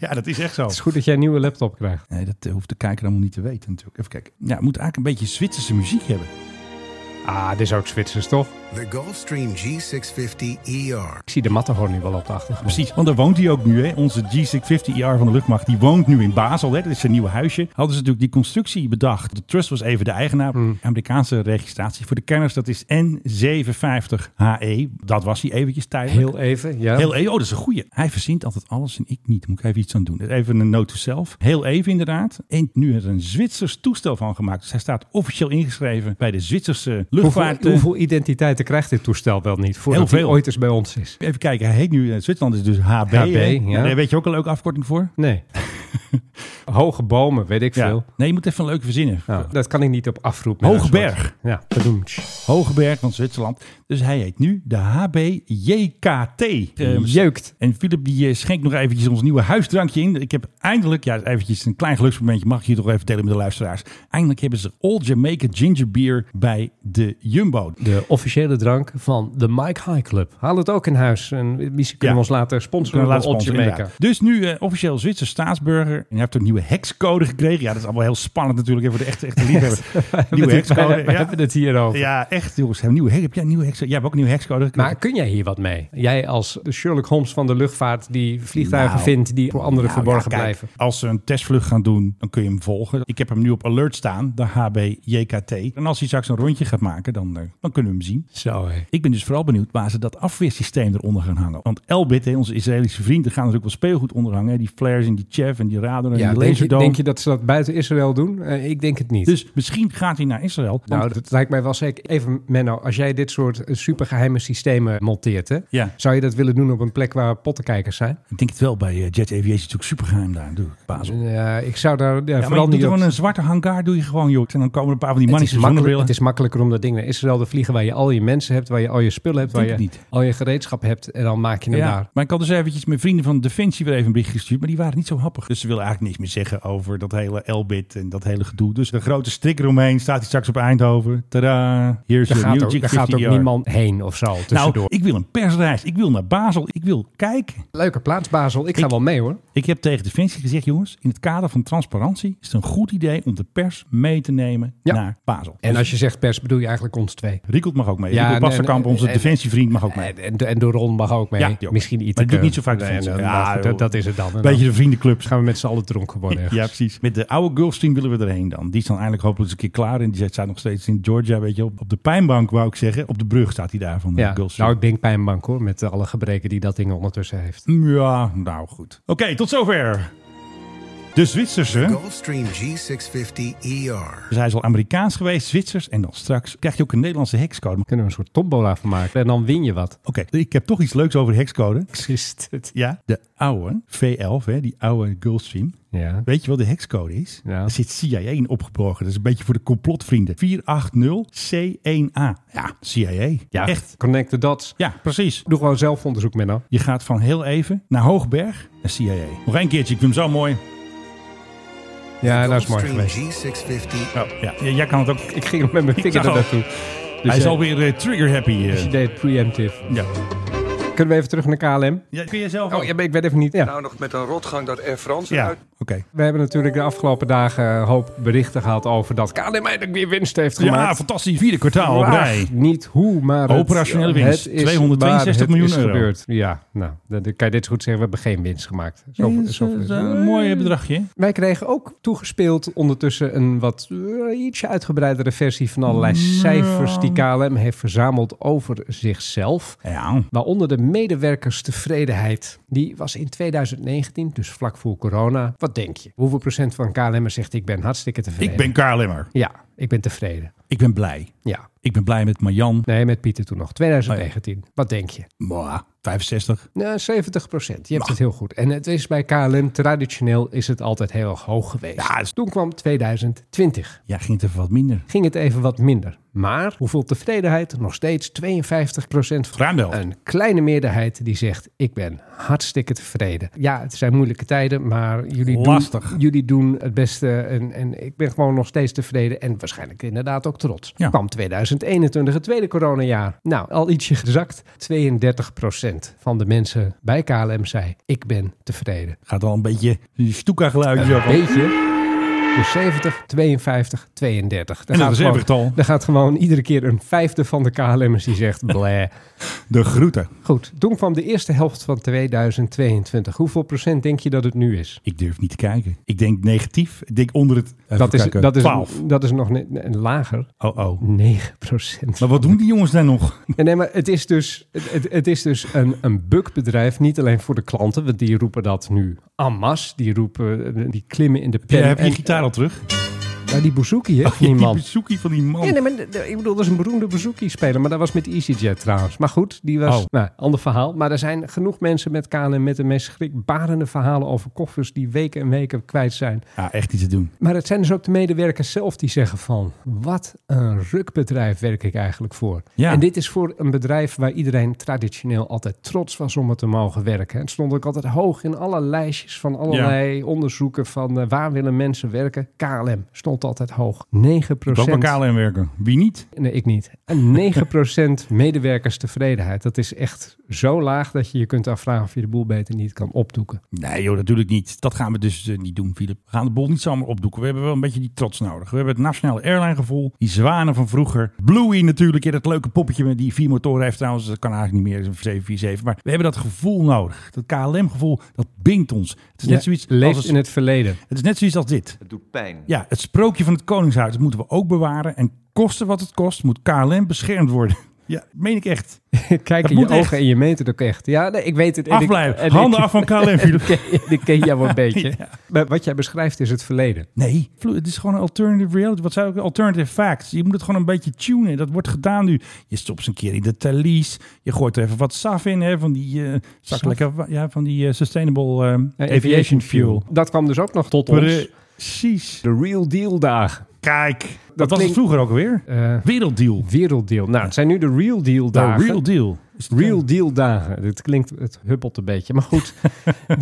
S6: ja, dat is echt zo.
S7: Het is goed dat jij een nieuwe laptop krijgt.
S6: Nee, dat eh, hoeft de kijker allemaal niet te weten natuurlijk. Even kijken. Ja, het moet eigenlijk een beetje Zwitserse muziek hebben.
S7: Ah, dit is ook Zwitsers, toch?
S3: De Gulfstream G650 ER.
S7: Ik zie de Matterhorn nu wel op de achtergrond.
S6: Precies, want daar woont hij ook nu. Hè. Onze G650ER E van de luchtmacht, die woont nu in Basel. Hè. Dat is zijn nieuwe huisje. Hadden ze natuurlijk die constructie bedacht. De Trust was even de eigenaar. Amerikaanse registratie voor de kenners, dat is N750HE. E. Dat was hij eventjes tijdelijk.
S7: Heel even, ja.
S6: Heel even, oh, dat is een goeie. Hij verzint altijd alles en ik niet. Daar Moet ik even iets aan doen. Dus Even een note to self. Heel even inderdaad. En nu is er een Zwitsers toestel van gemaakt. Dus hij staat officieel ingeschreven bij de Zwitserse
S7: Hoeveel,
S6: luchtvaart.
S7: hoeveel identiteiten krijgt dit toestel wel niet voordat
S6: eh, Heel
S7: hij
S6: veel.
S7: ooit eens bij ons is?
S6: Even kijken, hij heet nu, eh, Zwitserland is dus HB.
S7: HB,
S6: hè.
S7: ja.
S6: Nou, Daar weet je ook een leuke afkorting voor?
S7: Nee. Hoge bomen, weet ik veel.
S6: Nee, je moet even een leuke verzinnen.
S7: Nou, dat kan ik niet op afroep. met een
S6: Hoogberg.
S7: soort- Ja, bedoemd.
S6: Hogeberg van Zwitserland. Dus hij heet nu de HBJKT. Ehm,
S7: Jeukt.
S6: En Philip die eh, schenkt nog eventjes ons nieuwe huisdrankje in. Ik heb eindelijk, ja eventjes een klein geluksmomentje, mag ik hier toch even delen met de luisteraars. Eindelijk hebben ze Old Jamaica Ginger Beer bij de Jumbo.
S7: De officiële drank van de Mike High Club. Haal het ook in huis. En misschien kunnen
S6: Ja.
S7: we ons later sponsoren
S6: Laat
S7: door Old
S6: sponsoren,
S7: Jamaica.
S6: inderdaad. Dus nu eh, officieel Zwitser staatsburger. En hij heeft ook een nieuwe hexcode gekregen. Ja, dat is allemaal heel spannend natuurlijk. Even voor de echte, echte liefhebber. nieuwe
S7: We
S6: hexcode. Ja.
S7: hebben het hier over.
S6: Ja, echt jongens. Heb, nieuwe, heb jij, een nieuwe hexcode? jij hebt ook een nieuwe hexcode gekregen.
S7: Maar kun jij hier wat mee? Jij als de Sherlock Holmes van de luchtvaart die vliegtuigen
S6: Nou,
S7: vindt die voor anderen
S6: Nou,
S7: verborgen
S6: ja, kijk,
S7: blijven.
S6: Als ze een testvlucht gaan doen, dan kun je hem volgen. Ik heb hem nu op alert staan, de HBJKT. En als hij straks een rondje gaat maken, dan, eh, dan kunnen we hem zien.
S7: Zo hé.
S6: Ik ben dus vooral benieuwd waar ze dat afweersysteem eronder gaan hangen. Want Elbit, hè, onze Israëlische vrienden, gaan natuurlijk wel speelgoed onder hangen. hè. Die flares en die chef en die radar en
S7: Ja,
S6: die
S7: denk, je,
S6: laserdoom.
S7: denk je dat ze dat buiten Israël doen? Eh, ik denk het niet.
S6: Dus misschien gaat hij naar Israël. want-
S7: nou, dat lijkt mij wel zeker. Even Menno, als jij dit soort eh, supergeheime systemen monteert, hè,
S6: Ja.
S7: zou je dat willen doen op een plek waar pottenkijkers zijn?
S6: ik denk het wel bij eh, Jet Aviation, natuurlijk supergeheim daar, natuurlijk, Basel.
S7: Ja, Eh, ik zou daar ja,
S6: Ja, maar
S7: vooral
S6: je doet
S7: niet op-
S6: gewoon een zwarte hangar, doe je gewoon, joh. En dan komen er een paar van die
S7: Het
S6: mannen
S7: is,
S6: met
S7: makkelijk,
S6: zonnebrillen.
S7: het is makkelijker om dat ding naar Israël te vliegen waar je al je mensen hebt, waar je al je spullen hebt, waar
S6: Denk
S7: je
S6: het niet.
S7: al je gereedschap hebt en dan maak je hem daar.
S6: Maar ik had dus eventjes mijn vrienden van Defensie weer even een berichtje gestuurd. Maar die waren niet zo happig. Dus ze willen eigenlijk niks meer zeggen over dat hele Elbit en dat hele gedoe. Dus de grote strik eromheen staat hij straks op Eindhoven. Tada! Hier is
S7: Daar
S6: de
S7: gaat,
S6: New
S7: ook,
S6: Jig
S7: daar gaat ook
S6: 50
S7: niemand heen of zo tussendoor.
S6: Nou, ik wil een persreis. Ik wil naar Basel. Ik wil kijken.
S7: Leuke plaats, Basel. Ik ga
S6: Ik-
S7: wel mee hoor.
S6: Ik heb tegen Defensie gezegd, jongens, in het kader van transparantie is het een goed idee om de pers mee te nemen
S7: Ja.
S6: naar Basel. Dus
S7: En als je zegt pers, bedoel je eigenlijk ons twee.
S6: Riekelt mag ook mee.
S7: Ja,
S6: Riekelt
S7: nee,
S6: Basterkamp,
S7: nee,
S6: onze
S7: en-
S6: Defensievriend, mag ook mee.
S7: En, en, de- en de Ron mag ook mee.
S6: Eh. Ja, die ook.
S7: Misschien iets.
S6: Maar die doet niet zo vaak
S7: Nee,
S6: Defensie.
S7: nou,
S6: Ja,
S7: nou, goed, dat,
S6: joh.
S7: dat is het dan. En
S6: Beetje
S7: dan
S6: de vriendenclubs.
S7: gaan we met z'n allen dronken worden. ergens.
S6: Ja, precies. Met de oude Gulfstream willen we erheen dan. Die is dan eindelijk hopelijk eens een keer klaar. En die staat nog steeds in Georgia, weet je. Op, op de pijnbank, wou ik zeggen. Op de brug staat hij daar van de
S7: Ja,
S6: Gulfstream.
S7: nou, ik denk pijnbank hoor, met alle gebreken die dat ding ondertussen heeft.
S6: Ja, nou goed. Oké, tot zover. De
S3: Hm?
S6: Zwitserse.
S3: Gulfstream G650 ER.
S6: Dus hij is al Amerikaans geweest, Zwitsers. En dan straks krijg je ook een Nederlandse hexcode. Maar
S7: Kunnen we een soort tombola van maken en dan win je wat.
S6: Oké, ik heb toch iets leuks over de hexcode.
S7: Is dit?
S6: Ja, de oude V11, hè, die oude Gulfstream.
S7: Ja.
S6: Weet je wat de hexcode is?
S7: Ja.
S6: Er zit CIA in opgeborgen. Dat is een beetje voor de complotvrienden. 480C1A. Ja, CIA.
S7: ja,
S6: echt.
S7: echt. Connect the dots.
S6: Ja, precies.
S7: Doe gewoon zelf onderzoek, Menno.
S6: Je gaat van heel even naar Hoogberg naar CIA. Nog een keertje, ik vind hem zo mooi. Oh,
S7: Ja, dat is mooi
S3: Gulfstream
S7: geweest.
S3: G650.
S6: Oh, ja. J- Jij kan het ook.
S7: Ik ging met mijn vinger
S6: Nou,
S7: er naartoe. Dus
S6: Hij is
S7: jij-
S6: alweer eh, trigger happy. eh.
S7: Je deed preemptive.
S6: ja.
S7: Kunnen we even terug naar KLM?
S6: ja, kun je zelf ook?
S7: Oh, ja, maar ik weet even niet. Ja.
S8: Nou nog met een rotgang dat Air France
S6: Ja,
S8: eruit...
S6: oké.
S7: We hebben natuurlijk de afgelopen dagen een hoop berichten gehad over dat KLM eindelijk weer winst heeft gemaakt.
S6: Ja, fantastisch. Vierde kwartaal op
S7: Waar,
S6: rij.
S7: Niet hoe, maar het-
S6: Operationele winst,
S7: het is
S6: 262
S7: waar, het
S6: miljoen
S7: is
S6: euro.
S7: Gebeurd. Ja, nou, dan dan kan je dit zo goed zeggen. We hebben geen winst gemaakt. Zo,
S6: Nee, dat is,
S7: zo-
S6: eh, een mooi bedragje.
S7: Wij kregen ook toegespeeld ondertussen een wat eh, ietsje uitgebreidere versie van allerlei cijfers die KLM heeft verzameld over zichzelf.
S6: Ja.
S7: Waaronder de medewerkerstevredenheid. Die was in 2019, dus vlak voor corona. Wat denk je? Hoeveel procent van KLM zegt ik ben hartstikke tevreden?
S6: Ik ben KLM'er.
S7: Ja, ik ben tevreden.
S6: Ik ben blij.
S7: Ja.
S6: Ik ben blij met Marjan.
S7: Nee, met Pieter toen nog. 2019. Wat denk je?
S6: Mwah, 65.
S7: Nou, 70 procent.
S6: Nou.
S7: Je hebt het heel goed. En het is bij KLM, traditioneel is het altijd heel erg hoog geweest.
S6: Ja, is-
S7: Toen kwam 2020.
S6: Ja, ging het even wat minder.
S7: ging het even wat minder. Maar hoeveel tevredenheid? Nog steeds 52 procent.
S6: Ruim wel.
S7: Een kleine meerderheid die zegt, ik ben hartstikke tevreden. Ja, het zijn moeilijke tijden, maar jullie,
S6: Lastig.
S7: Doen, jullie doen het beste. En, en ik ben gewoon nog steeds tevreden en waarschijnlijk inderdaad ook trots.
S6: Ja.
S7: Kwam 2021, het tweede coronajaar. Nou, al ietsje gezakt. 32 procent van de mensen bij KLM zei, ik ben tevreden.
S6: Gaat al een beetje stoeka geluidjes ook. al.
S7: Beetje. Dus 70, 52, 32.
S6: En dat is
S7: gewoon,
S6: eeuwig tal.
S7: Er gaat gewoon iedere keer een vijfde van de KLM'ers die zegt bleh.
S6: De groeten.
S7: Goed, toen kwam de eerste helft van 2022. Hoeveel procent denk je dat het nu is?
S6: Ik durf niet te kijken. Ik denk negatief. Ik denk onder het... Even
S7: Dat is,
S6: kijken.
S7: dat, is,
S6: 12.
S7: dat is nog net- nee, lager.
S6: Oh, oh.
S7: 9 procent.
S6: Maar wat doen die jongens daar nog?
S7: En nee, maar het is dus, het, het is dus een, een bukbedrijf, niet alleen voor de klanten, want die roepen dat nu en masse. Die roepen, eh, die klimmen in de pen.
S6: Ja, heb je je
S7: En-
S6: gitaar al terug?
S7: Nou, die bouzouki heeft
S6: Die
S7: niemand.
S6: bezoekie van die man.
S7: Ja, nee, maar de- de- ik bedoel, dat is een beroemde bezoekie-speler. Maar dat was met EasyJet trouwens. Maar goed, die was...
S6: Oh.
S7: Nou, ander verhaal. Maar er zijn genoeg mensen met KLM met de meest schrikbarende verhalen over koffers die weken en weken kwijt zijn.
S6: Ja, echt iets te doen.
S7: Maar het zijn dus ook de medewerkers zelf die zeggen van... Wat een rukbedrijf werk ik eigenlijk voor.
S6: Ja.
S7: En dit is voor een bedrijf waar iedereen traditioneel altijd trots was om er te mogen werken. Het stond ook altijd hoog in alle lijstjes van allerlei onderzoeken van eh, waar willen mensen werken. KLM stond altijd hoog. 9
S6: Ik ook bij KLM werken. Wie niet?
S7: Nee, ik niet. En 9% medewerkerstevredenheid. Dat is echt zo laag dat je je kunt afvragen of je de boel beter niet kan opdoeken.
S6: Nee joh, natuurlijk niet. Dat gaan we dus eh, niet doen, Filip. We gaan de bol niet zomaar opdoeken. We hebben wel een beetje die trots nodig. We hebben het nationale airline gevoel. Die zwanen van vroeger. Bluey natuurlijk. Ja, dat leuke poppetje met die vier motoren heeft trouwens. Dat kan eigenlijk niet meer. Dat is een 747. Maar we hebben dat gevoel nodig. Dat KLM gevoel, dat bindt ons. Het is, net, zoiets
S7: leeft
S6: als het,
S7: in het verleden.
S6: het is net zoiets als dit.
S10: Het doet pijn.
S6: Ja, het sprookje van het Koningshuis dat moeten we ook bewaren. En koste wat het kost, moet KLM beschermd worden. Ja, meen ik echt.
S7: Kijk
S6: Dat
S7: in je
S6: moet
S7: ogen
S6: echt.
S7: en je meent het ook echt. Ja, nee, ik weet het. En ik- en
S6: Afblijven.
S7: ik-
S6: Handen af van KLM,
S7: en
S6: Filip.
S7: Ik ken, ik ken jou wel een beetje. Maar wat jij beschrijft is het verleden. Eh,
S6: Nee, Vlo- het is gewoon een alternative reality. Wat zou ik alternative facts? Je moet het gewoon een beetje tunen. Dat wordt gedaan nu. Je stopt ze een keer in de Thalys. Je gooit er even wat saf in, hè, van die eh, zakkelijke, wa- ja, van die eh, sustainable ehm,
S7: Ja,
S6: aviation fuel.
S7: Dat kwam dus ook nog tot ons.
S6: Precies.
S7: De real deal dagen.
S6: Kijk, dat was het
S7: klinkt-
S6: vroeger ook alweer.
S7: Eh,
S6: Werelddeal.
S7: werelddeal. Nou, het zijn nu de real deal
S6: De
S7: dagen.
S6: real deal. Is het-
S7: Real deal dagen. Dit klinkt, het huppelt een beetje. Maar goed,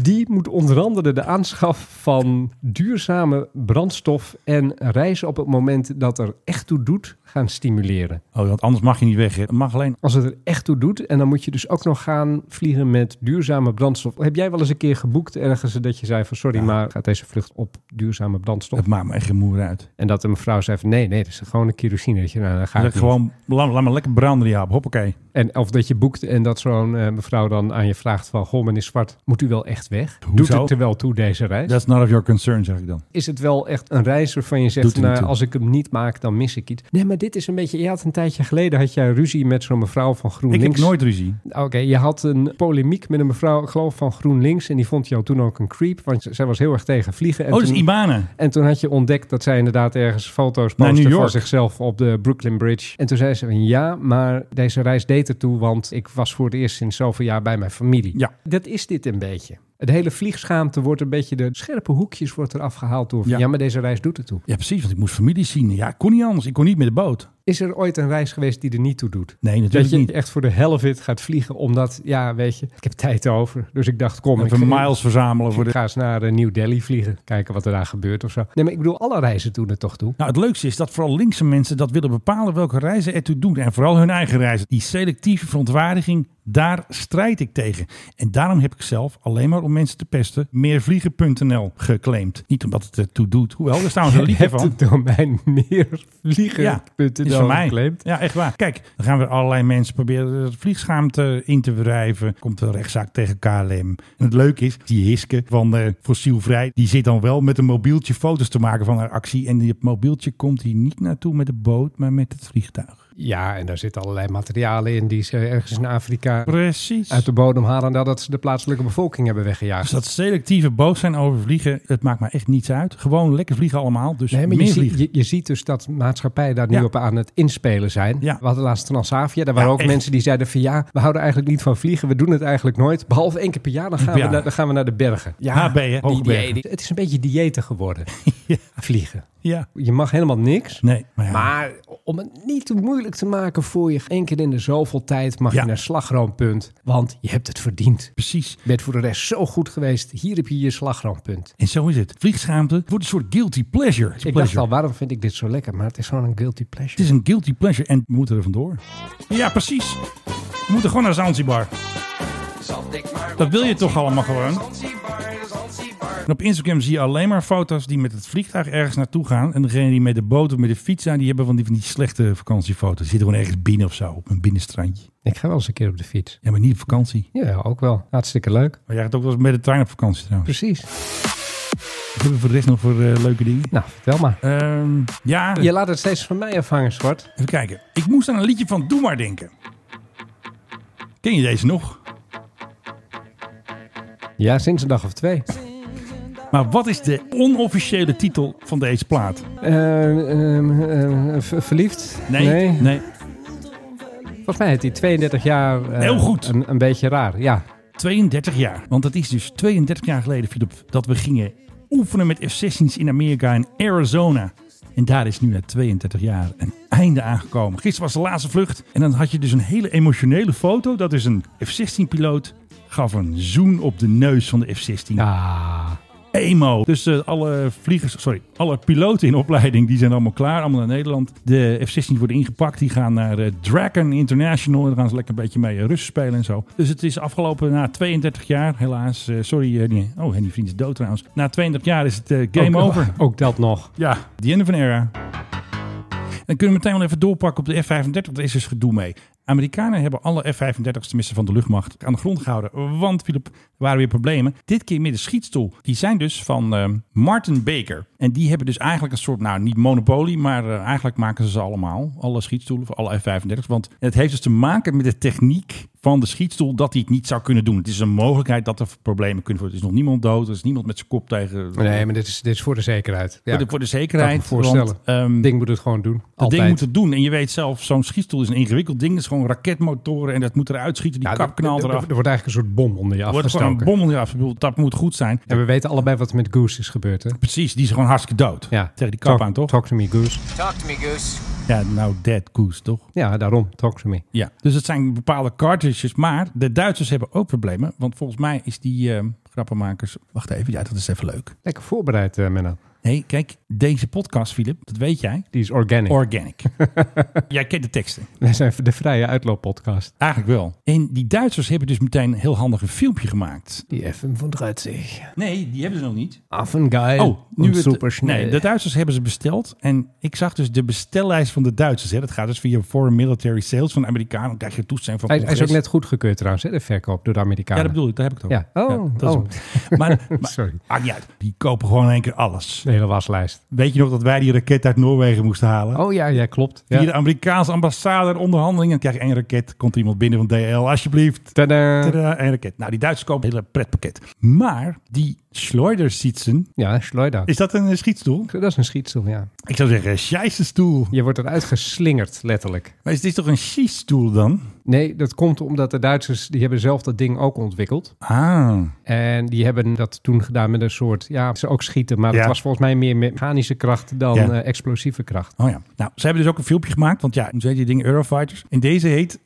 S7: die moet onder andere de aanschaf van duurzame brandstof en reizen op het moment dat er echt toe doet gaan stimuleren.
S6: Oh, want anders mag je niet weg. hè. Het mag alleen.
S7: Als het er echt toe doet en dan moet je dus ook nog gaan vliegen met duurzame brandstof. Heb jij wel eens een keer geboekt ergens dat je zei van sorry, maar gaat deze vlucht op duurzame brandstof?
S6: Het maakt me echt geen moer uit.
S7: En dat de mevrouw zei van nee, nee, dat is gewoon een kerosine. Dat je, nou, dat gaat
S6: Zeg
S7: niet.
S6: gewoon, laat, laat me lekker branden die hap. Hoppakee.
S7: En of dat je boekt en dat zo'n eh, mevrouw dan aan je vraagt van... Goh, meneer Zwart, moet u wel echt weg? Doet
S6: Hoezo?
S7: het er wel toe, deze reis?
S6: That's none of your concern, zeg ik dan.
S7: Is het wel echt een reis waarvan je
S6: Doet
S7: zegt...
S6: er niet
S7: Nou,
S6: toe.
S7: als ik hem niet maak, dan mis ik iets. Nee, maar dit is een beetje... Je had een tijdje geleden had jij ruzie met zo'n mevrouw van
S6: Ik
S7: GroenLinks. Ah,
S6: heb nooit ruzie.
S7: Oké, je had een polemiek met een mevrouw, ik geloof van GroenLinks. En die vond jou toen ook een creep, want zij was heel erg tegen vliegen. En
S6: oh, dus
S7: toen-
S6: Imane.
S7: en toen had je ontdekt dat zij inderdaad ergens foto's
S6: Naar
S7: postte
S6: New
S7: van
S6: York.
S7: zichzelf op de Brooklyn Bridge. En toen zei ze van ja, maar deze reis deed ertoe, want ik was voor het eerst sinds zoveel jaar bij mijn familie.
S6: Ja.
S7: Dat is dit een beetje. Het hele vliegschaamte wordt een beetje, de scherpe hoekjes wordt eraf gehaald door van,
S6: Ja.
S7: ja. maar deze reis doet ertoe.
S6: Ja, precies, want ik moest familie zien. Ja, ik kon niet anders. Ik kon niet met de boot.
S7: Is er ooit een reis geweest die er niet toe doet?
S6: Nee,
S7: Dat
S6: natuurlijk
S7: je
S6: niet.
S7: echt voor de helft gaat vliegen, omdat, ja, weet je, ik heb tijd over. Dus ik dacht, kom, ik
S6: Even miles verzamelen voor
S7: Ik
S6: de...
S7: ga eens naar eh, New Delhi vliegen, kijken wat er daar gebeurt of zo. Nee, maar ik bedoel, alle reizen doen er toch toe.
S6: Nou, het leukste is dat vooral linkse mensen dat willen bepalen welke reizen ertoe doen. En vooral hun eigen reizen. Die selectieve verontwaardiging, daar strijd ik tegen. En daarom heb ik zelf, alleen maar om mensen te pesten, meervliegen.nl geclaimd. Niet omdat het ertoe doet. Hoewel, daar staan we een
S7: Je
S6: liedje van.
S7: hebt het domein meervliegen.nl
S6: Ja, is van mij.
S7: geclaimd.
S6: Ja, echt waar. Kijk, dan gaan weer allerlei mensen proberen het vliegschaamte in te wrijven. Komt een rechtszaak tegen KLM. En het leuke is, die Hiske van eh, Fossielvrij, die zit dan wel met een mobieltje foto's te maken van haar actie. En dat mobieltje komt hier niet naartoe met de boot, maar met het vliegtuig.
S7: Ja, en daar zitten allerlei materialen in die ze ergens in Afrika
S6: Precies.
S7: uit de bodem halen nadat ze de plaatselijke bevolking hebben
S6: Dus
S7: weggejaagd.
S6: dat selectieve boos zijn over vliegen, het maakt maar echt niets uit. Gewoon lekker vliegen allemaal, dus
S7: Nee, maar je,
S6: meer
S7: ziet,
S6: vliegen.
S7: je, je ziet dus dat maatschappijen daar nu
S6: Ja.
S7: op aan het inspelen zijn.
S6: Ja.
S7: We hadden laatst Transavia. Daar waren
S6: Ja,
S7: ook
S6: echt.
S7: mensen die zeiden van ja, we houden eigenlijk niet van vliegen. We doen het eigenlijk nooit. Behalve één keer per jaar, dan gaan,
S6: Ja.
S7: we, naar, dan gaan we naar de bergen.
S6: HB, hè?
S7: die,
S6: Hoogbergen.
S7: die- het is een beetje diëten geworden.
S6: Ja.
S7: Vliegen.
S6: Ja.
S7: Je mag helemaal niks.
S6: Nee, maar ja.
S7: Maar om het niet te moeilijk te maken voor je, één keer in de zoveel tijd mag
S6: Ja.
S7: je naar slagroompunt. Want je hebt het verdiend.
S6: precies.
S7: Je bent voor de rest zo goed geweest. Hier heb je je slagroompunt.
S6: En zo is het. Vliegschaamte wordt een soort guilty pleasure.
S7: Ik dacht al, waarom vind ik dit zo lekker? Maar het is gewoon een guilty
S6: Het
S7: pleasure.
S6: is een guilty pleasure en we moeten er vandoor. Ja, precies. We moeten gewoon naar Zanzibar. Dat wil je toch allemaal gewoon? En op Instagram zie je alleen maar foto's die met het vliegtuig ergens naartoe gaan. En degene die met de boot of met de fiets zijn, die hebben van die, van die slechte vakantiefoto's. Die zitten gewoon ergens binnen of zo, op een binnenstrandje.
S7: Ik ga wel eens een keer op de fiets.
S6: Ja, maar niet op vakantie.
S7: Ja, ook wel. Hartstikke leuk.
S6: Maar jij gaat ook wel eens met de trein op vakantie trouwens.
S7: Precies.
S6: Wat hebben we voor de rest nog voor eh, leuke dingen?
S7: Nou, vertel maar.
S6: Ehm, ja,
S7: Je laat het steeds van mij afhangen, Zwart.
S6: even kijken. Ik moest aan een liedje van Doe Maar denken. Ken je deze nog?
S7: Ja, sinds een dag of twee.
S6: Maar wat is de onofficiële titel van deze plaat?
S7: Eh, ehm, ehm, ver- verliefd? Volgens mij heeft hij 32 jaar... eh,
S6: Heel goed.
S7: Een, een beetje raar, ja.
S6: 32 jaar. Want het is dus 32 jaar geleden, Philip, dat we gingen oefenen met F-16's in Amerika in Arizona. En daar is nu na 32 jaar een einde aangekomen. Gisteren was de laatste vlucht. En dan had je dus een hele emotionele foto. Dat is een F-16-piloot gaf een zoen op de neus van de F-16.
S7: Ah,
S6: emo. Dus eh, alle vliegers, sorry, alle piloten in opleiding, die zijn allemaal klaar, allemaal naar Nederland. De F-16 worden ingepakt, die gaan naar eh Dragon International en daar gaan ze lekker een beetje mee eh, Russen spelen en zo. Dus het is afgelopen na 32 jaar, helaas, eh, sorry, eh, nee. oh Henny Vriend is dood trouwens. Na 32 jaar is het eh, game
S7: ook,
S6: over.
S7: Ook dat nog.
S6: Ja, the end of an era. Dan kunnen we meteen wel even doorpakken op de F-35. Daar is dus gedoe mee. Amerikanen hebben alle F-35's, tenminste van de luchtmacht, aan de grond gehouden. Want, Philip, er waren weer problemen. Dit keer met de schietstoel. Die zijn dus van ehm, Martin Baker. En die hebben dus eigenlijk een soort, nou niet monopolie, maar eh, eigenlijk maken ze ze allemaal. Alle schietstoelen voor alle F-35's. Want het heeft dus te maken met de techniek van de schietstoel dat hij het niet zou kunnen doen. Het is een mogelijkheid dat er problemen kunnen worden. Er is nog niemand dood. Er is niemand met zijn kop tegen...
S7: Nee, maar dit is, dit is voor de zekerheid. Ja,
S6: voor, de, voor de zekerheid.
S7: Kan ik me voorstellen.
S6: Want, ehm,
S7: dat ding moet het gewoon doen.
S6: dat
S7: Altijd.
S6: ding moet het doen. En je weet zelf, zo'n schietstoel is een ingewikkeld ding. Dat is gewoon raketmotoren en dat moet eruit schieten. Die
S7: Ja,
S6: kap knalt
S7: Nou, er, er,
S6: eraf.
S7: er wordt eigenlijk een soort bom onder je
S6: Er wordt gewoon een
S7: afgestoken.
S6: bommel eraf. Ik bedoel, Dat moet goed zijn.
S7: En we weten allebei wat er met Goose is gebeurd, hè?
S6: Precies, die is gewoon hartstikke dood. Tegen die kap
S7: Talk-
S6: aan, toch?
S7: Talk to me, Goose.
S6: Ja, nou, dead goose, toch?
S7: Ja, daarom. Talk to me.
S6: Ja. Dus het zijn bepaalde cartridges. Maar de Duitsers hebben ook problemen. Want volgens mij is die ehm, grappenmakers... Wacht even, ja, dat is even leuk.
S7: Lekker voorbereid, eh Menno.
S6: Nee, kijk, deze podcast, Philip, dat weet jij.
S7: Die is organic.
S6: Organic. jij kent de teksten.
S7: Wij zijn de vrije uitlooppodcast.
S6: Eigenlijk wel. En die Duitsers hebben dus meteen een heel handig een filmpje gemaakt.
S7: Die F35.
S6: Nee, die hebben ze nog niet.
S7: Affengeil.
S6: Oh, nu het, Nee, de Duitsers hebben ze besteld. En ik zag dus de bestellijst van de Duitsers. Hè. Dat gaat dus via Foreign Military Sales van de Amerikanen. Krijg je toestemming van
S7: Hij, hij is ook
S6: congres.
S7: net goedgekeurd trouwens, hè, de verkoop door de
S6: Ja,
S7: Amerikanen.
S6: dat bedoel ik. Daar heb ik het
S7: Ja.
S6: over.
S7: Oh,
S6: dat is
S7: oh.
S6: hem. Maar, maar
S7: Sorry.
S6: maakt niet uit. Die kopen gewoon in één keer alles.
S7: De hele waslijst.
S6: Weet je nog dat wij die raket uit Noorwegen moesten halen?
S7: Oh ja, ja klopt.
S6: Via
S7: Ja.
S6: de Amerikaanse ambassade en onderhandelingen. Dan krijg je één raket. Komt iemand binnen van DL, alsjeblieft.
S7: Tadaa.
S6: Tadaa, één raket. Nou, die Duitsers kopen een hele pretpakket. Maar die Schleudersitzen,
S7: Ja, Schleuder.
S6: is dat een eh, schietstoel?
S7: Dat is een schietstoel, ja.
S6: Ik zou zeggen, scheissenstoel.
S7: Je wordt eruit geslingerd, letterlijk.
S6: Maar het is toch een schiestoel dan?
S7: Nee, dat komt omdat de Duitsers, die hebben zelf dat ding ook ontwikkeld.
S6: Ah,
S7: En die hebben dat toen gedaan met een soort, ja, ze ook schieten. Maar
S6: Ja.
S7: dat was volgens mij meer mechanische kracht dan
S6: Ja.
S7: eh, explosieve kracht.
S6: oh ja. Nou, ze hebben dus ook een filmpje gemaakt, want ja, hoe heet die dingen? Eurofighters. En deze heet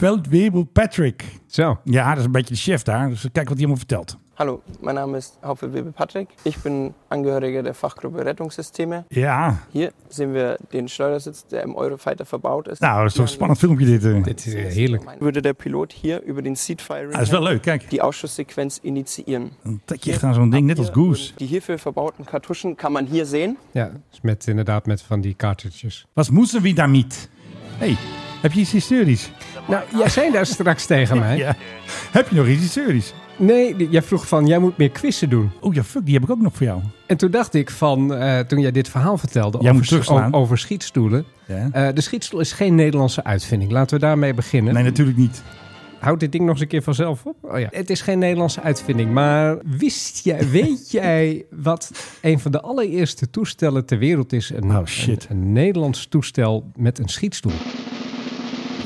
S6: Hauptfeldwebel Patrick.
S7: Zo.
S6: Ja, dat is een beetje de chef daar, dus kijk wat hij allemaal vertelt.
S10: Hallo, mein Name ist Hauptfeldwebel Patrick. Ich bin Angehöriger der Fachgruppe Rettungssysteme.
S6: Ja,
S10: Hier sehen wir den Schleudersitz, der im Eurofighter verbaut ist.
S6: nou, dat is toch een spannend filmpje dit. eh.
S7: Dit is eh, heerlijk.
S10: Würde der Pilot hier über den Seat Firing
S6: Ah, dat is wel leuk, kijk.
S10: die Ausschusssequenz initiieren.
S6: Dan trek je echt aan zo'n ding, net als Goose.
S10: Die hierfür verbauten Kartuschen kann man hier sehen.
S7: Ja, is met, inderdaad met van die cartridges.
S6: Was moesten we damit? hey, heb je iets hysterisch?
S7: Nou, jij zei daar straks tegen mij.
S6: Ja. Heb je nog iets hysterisch?
S7: Nee, die- jij vroeg van, jij moet meer quizzen doen.
S6: Oh ja, fuck, die heb ik ook nog voor jou.
S7: En toen dacht ik van, eh, toen jij dit verhaal vertelde
S6: Jij moet
S7: over,
S6: terugslaan.
S7: o- over schietstoelen.
S6: Ja.
S7: Eh, de schietstoel is geen Nederlandse uitvinding. Laten we daarmee beginnen.
S6: Nee, natuurlijk niet.
S7: Houd dit ding nog eens een keer vanzelf op. Oh ja. Het is geen Nederlandse uitvinding, maar wist jij, weet jij wat een van de allereerste toestellen ter wereld is? Een,
S6: Oh, shit.
S7: Een, een Nederlands toestel met een schietstoel.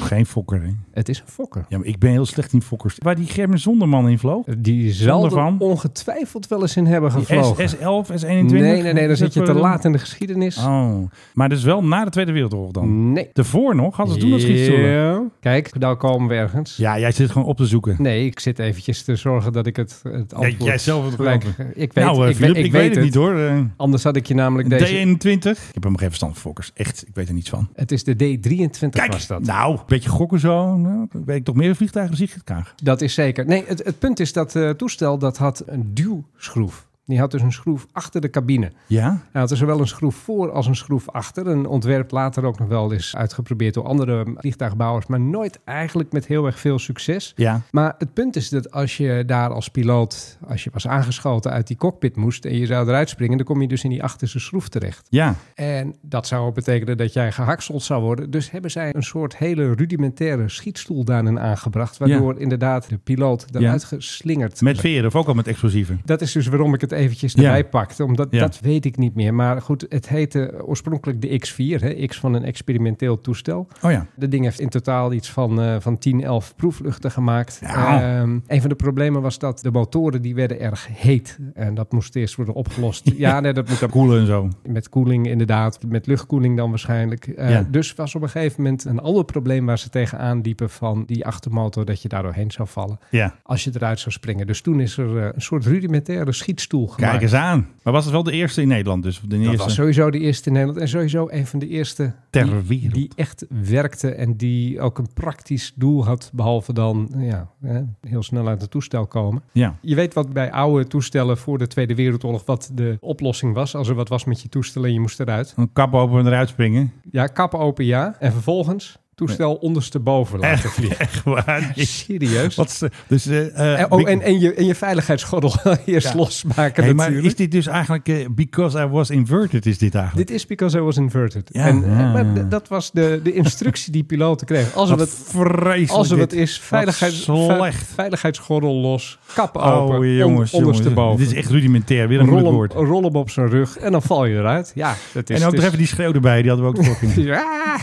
S6: Geen fokker, hè?
S7: Het is een fokker.
S6: Ja, maar ik ben heel slecht in fokkers. Waar die Gerben Zonderman in vloog?
S7: Die zal
S6: Zonder
S7: er
S6: van.
S7: ongetwijfeld wel eens in hebben
S6: Die
S7: gevlogen.
S6: S, S11, S21?
S7: nee, nee, nee, dan
S6: Is
S7: zit je
S6: dat
S7: te
S6: voor-
S7: laat in de geschiedenis.
S6: Oh, maar dus wel na de Tweede Wereldoorlog dan?
S7: Nee.
S6: Daarvoor nog? Hadden ze toen nog schietstoelen?
S7: Ja. Kijk, daar komen we ergens.
S6: Ja, jij zit gewoon op te zoeken.
S7: Nee, ik zit eventjes te zorgen dat ik het, het antwoord...
S6: jij zelf het
S7: gelijk-
S6: antwoord.
S7: Ik weet,
S6: nou, eh,
S7: ik,
S6: Philip,
S7: weet,
S6: ik, weet het, niet hoor. Eh,
S7: Anders had ik je namelijk deze...
S6: D21. Ik heb hem geen verstand van fokkers. Echt, ik weet er niets van.
S7: Het is de D23
S6: Kijk,
S7: was dat.
S6: nou, een beetje gokken zo. Nou, weet ik toch meer vliegtuigen zie ik het graag.
S7: Dat is zeker. Nee, het, het punt is dat eh, toestel dat had een duwschroef. Die had dus een schroef achter de cabine.
S6: Ja?
S7: Hij had er zowel een schroef voor als een schroef achter. Een ontwerp later ook nog wel eens uitgeprobeerd door andere vliegtuigbouwers. Maar nooit eigenlijk met heel erg veel succes.
S6: Ja.
S7: Maar het punt is dat als je daar als piloot, als je was aangeschoten uit die cockpit moest en je zou eruit springen, dan kom je dus in die achterste schroef terecht.
S6: Ja.
S7: En dat zou ook betekenen dat jij gehakseld zou worden. Dus hebben zij een soort hele rudimentaire schietstoel daarin aangebracht, waardoor inderdaad de piloot eruit geslingerd
S6: Met veren of ook al met explosieven.
S7: dat is dus waarom ik het eventjes
S6: Ja.
S7: erbij pakte. Omdat
S6: Ja.
S7: dat weet ik niet meer. Maar goed, het heette oorspronkelijk de X4. Hè? X van een experimenteel toestel.
S6: Oh ja.
S7: Dat ding heeft in totaal iets van, eh, van 10, 11 proefluchten gemaakt.
S6: Ja.
S7: Ehm, een van de problemen was dat de motoren die werden erg heet. En dat moest eerst worden opgelost. ja, nee, dat moet dan
S6: Koelen en zo.
S7: met koeling inderdaad. Met luchtkoeling dan waarschijnlijk. Eh,
S6: Ja.
S7: Dus was op een gegeven moment een ander probleem waar ze tegenaan liepen van die achtermotor. Dat je daar doorheen zou vallen
S6: Ja.
S7: als je eruit zou springen. Dus toen is er eh, een soort rudimentaire schietstoel gemaakt.
S6: Kijk eens aan. Maar was het wel de eerste in Nederland? Dus de
S7: dat
S6: eerste
S7: was sowieso de eerste in Nederland en sowieso een van de eerste
S6: ter
S7: die,
S6: wereld.
S7: die echt werkte en die ook een praktisch doel had, behalve dan nou ja, hè, heel snel uit het toestel komen.
S6: Ja.
S7: Je weet wat bij oude toestellen voor de Tweede Wereldoorlog wat de oplossing was. Als er wat was met je toestel en je moest eruit.
S6: Een kap open en eruit springen.
S7: Ja, kap open ja en vervolgens toestel ondersteboven laten vliegen.
S6: Echt waar?
S7: Serieus?
S6: Wat is, dus, eh, eh,
S7: En, oh,
S6: Big-
S7: en, en, je, en je veiligheidsgordel eerst
S6: Ja.
S7: losmaken
S6: Hey, maar
S7: natuurlijk.
S6: is dit dus eigenlijk eh, Because I Was Inverted is dit eigenlijk?
S7: Dit is because I was inverted.
S6: Ja.
S7: en, eh, maar d- dat was de, de instructie die piloten kregen. Als er
S6: wat
S7: wat,
S6: vreselijk
S7: als er
S6: dit.
S7: wat is, veiligheid,
S6: slecht.
S7: ve- veiligheidsgordel los, kap open,
S6: Oh
S7: on-
S6: jongens, jongens.
S7: ondersteboven.
S6: Dit is echt rudimentair. Weer een
S7: rol,
S6: moeilijk
S7: hem,
S6: woord.
S7: rol hem op zijn rug en dan val je eruit. Ja, dat is,
S6: En ook
S7: het
S6: nog
S7: is-
S6: even die schreeuw erbij. Die hadden we ook fucking.
S7: Ja.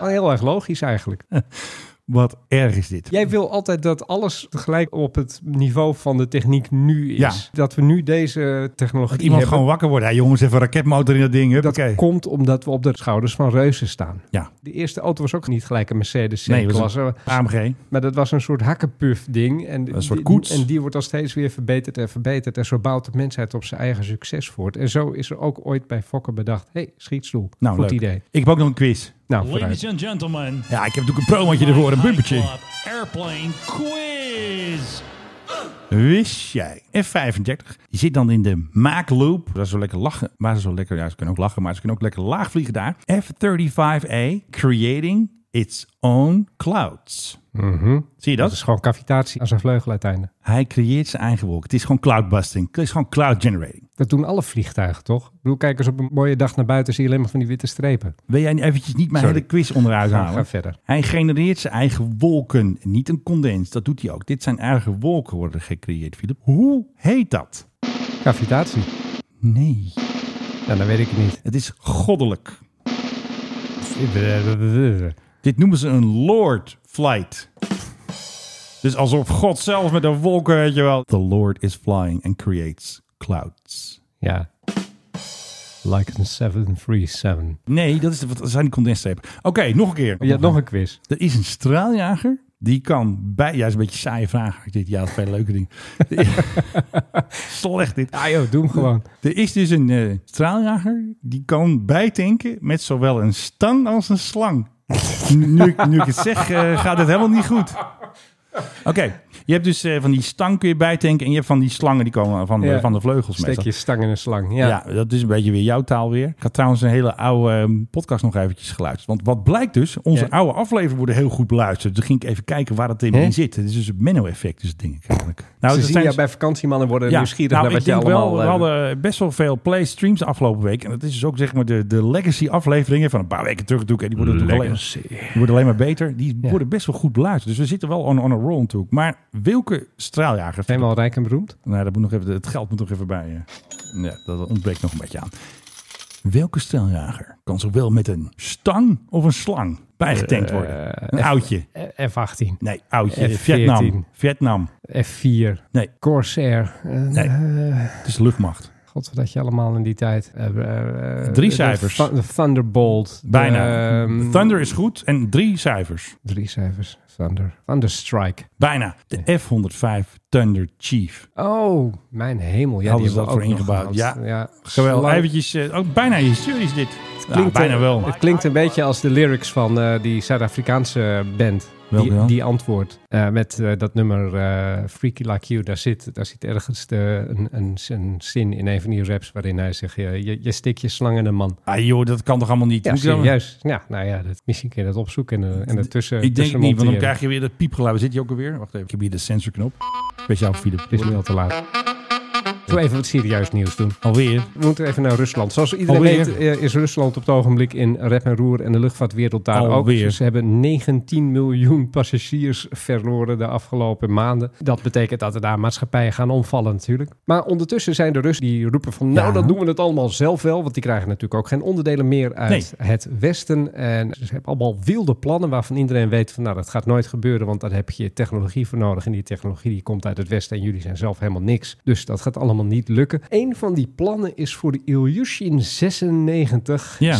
S7: Heel erg logisch eigenlijk.
S6: Wat erg is dit.
S7: Jij wil altijd dat alles tegelijk op het niveau van de techniek nu is.
S6: Ja.
S7: Dat we nu deze technologie
S6: Dat iemand
S7: hebben.
S6: gewoon wakker wordt. Ja, jongens, even een raketmotor in dat ding.
S7: dat
S6: Huppakee.
S7: komt omdat we op de schouders van reuzen staan.
S6: Ja.
S7: De eerste auto was ook niet gelijk een Mercedes
S6: Nee, het was
S7: C-klasse.
S6: AMG.
S7: Maar dat was een soort hakkenpuf ding. En
S6: Een soort
S7: die-
S6: koets.
S7: En die wordt al steeds weer verbeterd en verbeterd. En zo bouwt de mensheid op zijn eigen succes voort. En zo is er ook ooit bij Fokker bedacht... hé, hey, schietstoel.
S6: Nou,
S7: Goed
S6: leuk.
S7: idee.
S6: Ik heb ook nog een quiz.
S7: Nou, vooruit.
S11: and gentlemen,
S6: Ja, ik heb natuurlijk een promotje ervoor, een bumpertje.
S11: Airplane Quiz.
S6: Wist jij? F35. Je zit dan in de maakloop. Dat is zo lekker lachen. Maar ze, zo lekker, ja, ze kunnen ook lachen, maar ze kunnen ook lekker laag vliegen daar. F35A, creating its own clouds.
S7: Mhm.
S6: Zie je
S7: Dat
S6: dat?
S7: is gewoon cavitatie aan zijn vleugeluiteinden.
S6: Hij creëert zijn eigen wolk. Het is gewoon cloudbusting. Het is gewoon cloud generating.
S7: Dat doen alle vliegtuigen, toch? Ik bedoel, kijk eens op een mooie dag naar buiten... zie je alleen maar van die witte strepen.
S6: Wil jij eventjes niet mijn
S7: Sorry.
S6: hele quiz onderuit
S7: Ga-
S6: halen?
S7: ga verder.
S6: Hij genereert zijn eigen wolken. Niet een condens. Dat doet hij ook. Dit zijn eigen wolken worden gecreëerd, Philip. Hoe heet dat?
S7: Cavitatie.
S6: Nee.
S7: Nou, dat weet ik niet.
S6: Het is goddelijk. Dit noemen ze een Lord Flight. Dus alsof God zelf met een wolken, weet je wel. The Lord is flying and creates clouds.
S7: Ja. Like een 737.
S6: Nee, dat, is de, dat zijn die condensstrepen. Oké, nog een keer.
S7: Je had nog een quiz.
S6: Er is een straaljager. Die kan bij... Ja, is een beetje een saaie vraag. Dit, ja, dat zijn leuke dingen. Slecht dit.
S7: Ah joh, doe hem gewoon.
S6: Er is dus een eh, straaljager. Die kan bijtanken met zowel een stang als een slang. nu, nu ik- nu ik het zeg, eh, gaat het helemaal niet goed. Oké, je hebt dus eh, van die stang kun je bijtanken. En je hebt van die slangen die komen van de,
S7: Ja.
S6: van de vleugels.
S7: Steek
S6: meestal.
S7: je stang in een slang. Ja.
S6: Ja. dat is een beetje weer jouw taal weer. Ik had trouwens een hele oude ehm, podcast nog eventjes geluisterd. Want wat blijkt dus, onze
S7: Ja.
S6: oude afleveringen worden heel goed beluisterd. Dus ging ik even kijken waar dat in,
S7: Hè?
S6: in zit. Het is dus het Menno-effect, dus dat denk ik eigenlijk. Nou,
S7: Ze
S6: er
S7: zien
S6: zijn-
S7: jou bij vakantiemannen worden
S6: ja,
S7: nieuwsgierig
S6: nou,
S7: naar wat
S6: ik
S7: je
S6: denk
S7: allemaal...
S6: wel, we
S7: eh,
S6: hadden best wel veel playstreams de afgelopen week. En dat is dus ook zeg maar de, de legacy afleveringen van een paar weken terug natuurlijk. En die worden, natuurlijk alleen, die worden alleen maar beter. Die
S7: Ja.
S6: worden best wel goed beluisterd. Dus we zitten wel on, on a roll natuurlijk. Maar welke straaljager...
S7: Zijn we al rijk en beroemd?
S6: Nou, dat moet nog even, het geld moet nog even bij. eh. Ja, dat ontbreekt nog een beetje aan. Welke straaljager kan zowel met een stang of een slang bijgetankt worden? Nou.
S7: Eh,
S6: een
S7: F-
S6: oudje.
S7: F-18,
S6: Nee, oudje.
S7: F14.
S6: Vietnam. Vietnam.
S7: F4,
S6: Nee,
S7: Corsair. Eh,
S6: Nee.
S7: eh,
S6: het is luchtmacht.
S7: God, wat had je allemaal in die tijd? Eh, eh, eh,
S6: Drie
S7: de
S6: cijfers.
S7: Thu- De Thunderbolt.
S6: Bijna.
S7: De, ehm,
S6: Thunder is goed en drie cijfers.
S7: Drie cijfers. Thunder. Thunderstrike.
S6: Bijna. De F-105 Thunder Chief.
S7: Oh, mijn hemel. Ja,
S6: Hadden
S7: die
S6: ze
S7: hebben
S6: dat
S7: we
S6: voor
S7: ook nog
S6: ingebouwd,
S7: gehad.
S6: ja.
S7: ja.
S6: Geweldig.
S7: Slang-
S6: Eventjes, eh, ook bijna historisch dit. Ja,
S7: Klinkt,
S6: bijna
S7: eh,
S6: wel.
S7: Het klinkt een beetje als de lyrics van eh, die Zuid-Afrikaanse band.
S6: Welke
S7: die,
S6: dan?
S7: die antwoord eh, met eh, dat nummer eh, Freaky Like You. Daar zit, daar zit ergens de, een, een, een zin in een van die raps waarin hij zegt... eh, je, je stik je slang in een man.
S6: Ah joh, dat kan toch allemaal niet?
S7: Ja,
S6: Moet je dan-
S7: serieus. Ja, nou ja, dat, misschien kun je dat opzoeken en, eh, en ertussen
S6: Ik denk
S7: tussen
S6: niet, want dan
S7: monteren.
S6: krijg je weer dat piepgeluid. Waar Zit je ook alweer? Wacht even, ik heb hier de sensorknop. Speciaal voor Philip.
S7: Het is nu al te laat. Zullen we even wat serieus nieuws doen?
S6: Alweer.
S7: We moeten even naar Rusland. Zoals iedereen
S6: Alweer?
S7: weet eh, is Rusland op het ogenblik in rep en roer en de luchtvaartwereld daar
S6: Alweer.
S7: ook. Ze hebben 19 miljoen passagiers verloren de afgelopen maanden. Dat betekent dat er daar maatschappijen gaan omvallen natuurlijk. Maar ondertussen zijn de Russen die roepen van nou
S6: Ja.
S7: dan doen we het allemaal zelf wel. Want die krijgen natuurlijk ook geen onderdelen meer uit het Westen. En ze hebben allemaal wilde plannen waarvan iedereen weet van nou dat gaat nooit gebeuren. Want daar heb je technologie voor nodig. En die technologie die komt uit het Westen en jullie zijn zelf helemaal niks. Dus dat gaat allemaal niet lukken. Een van die plannen is voor de Ilyushin 96
S6: Ja.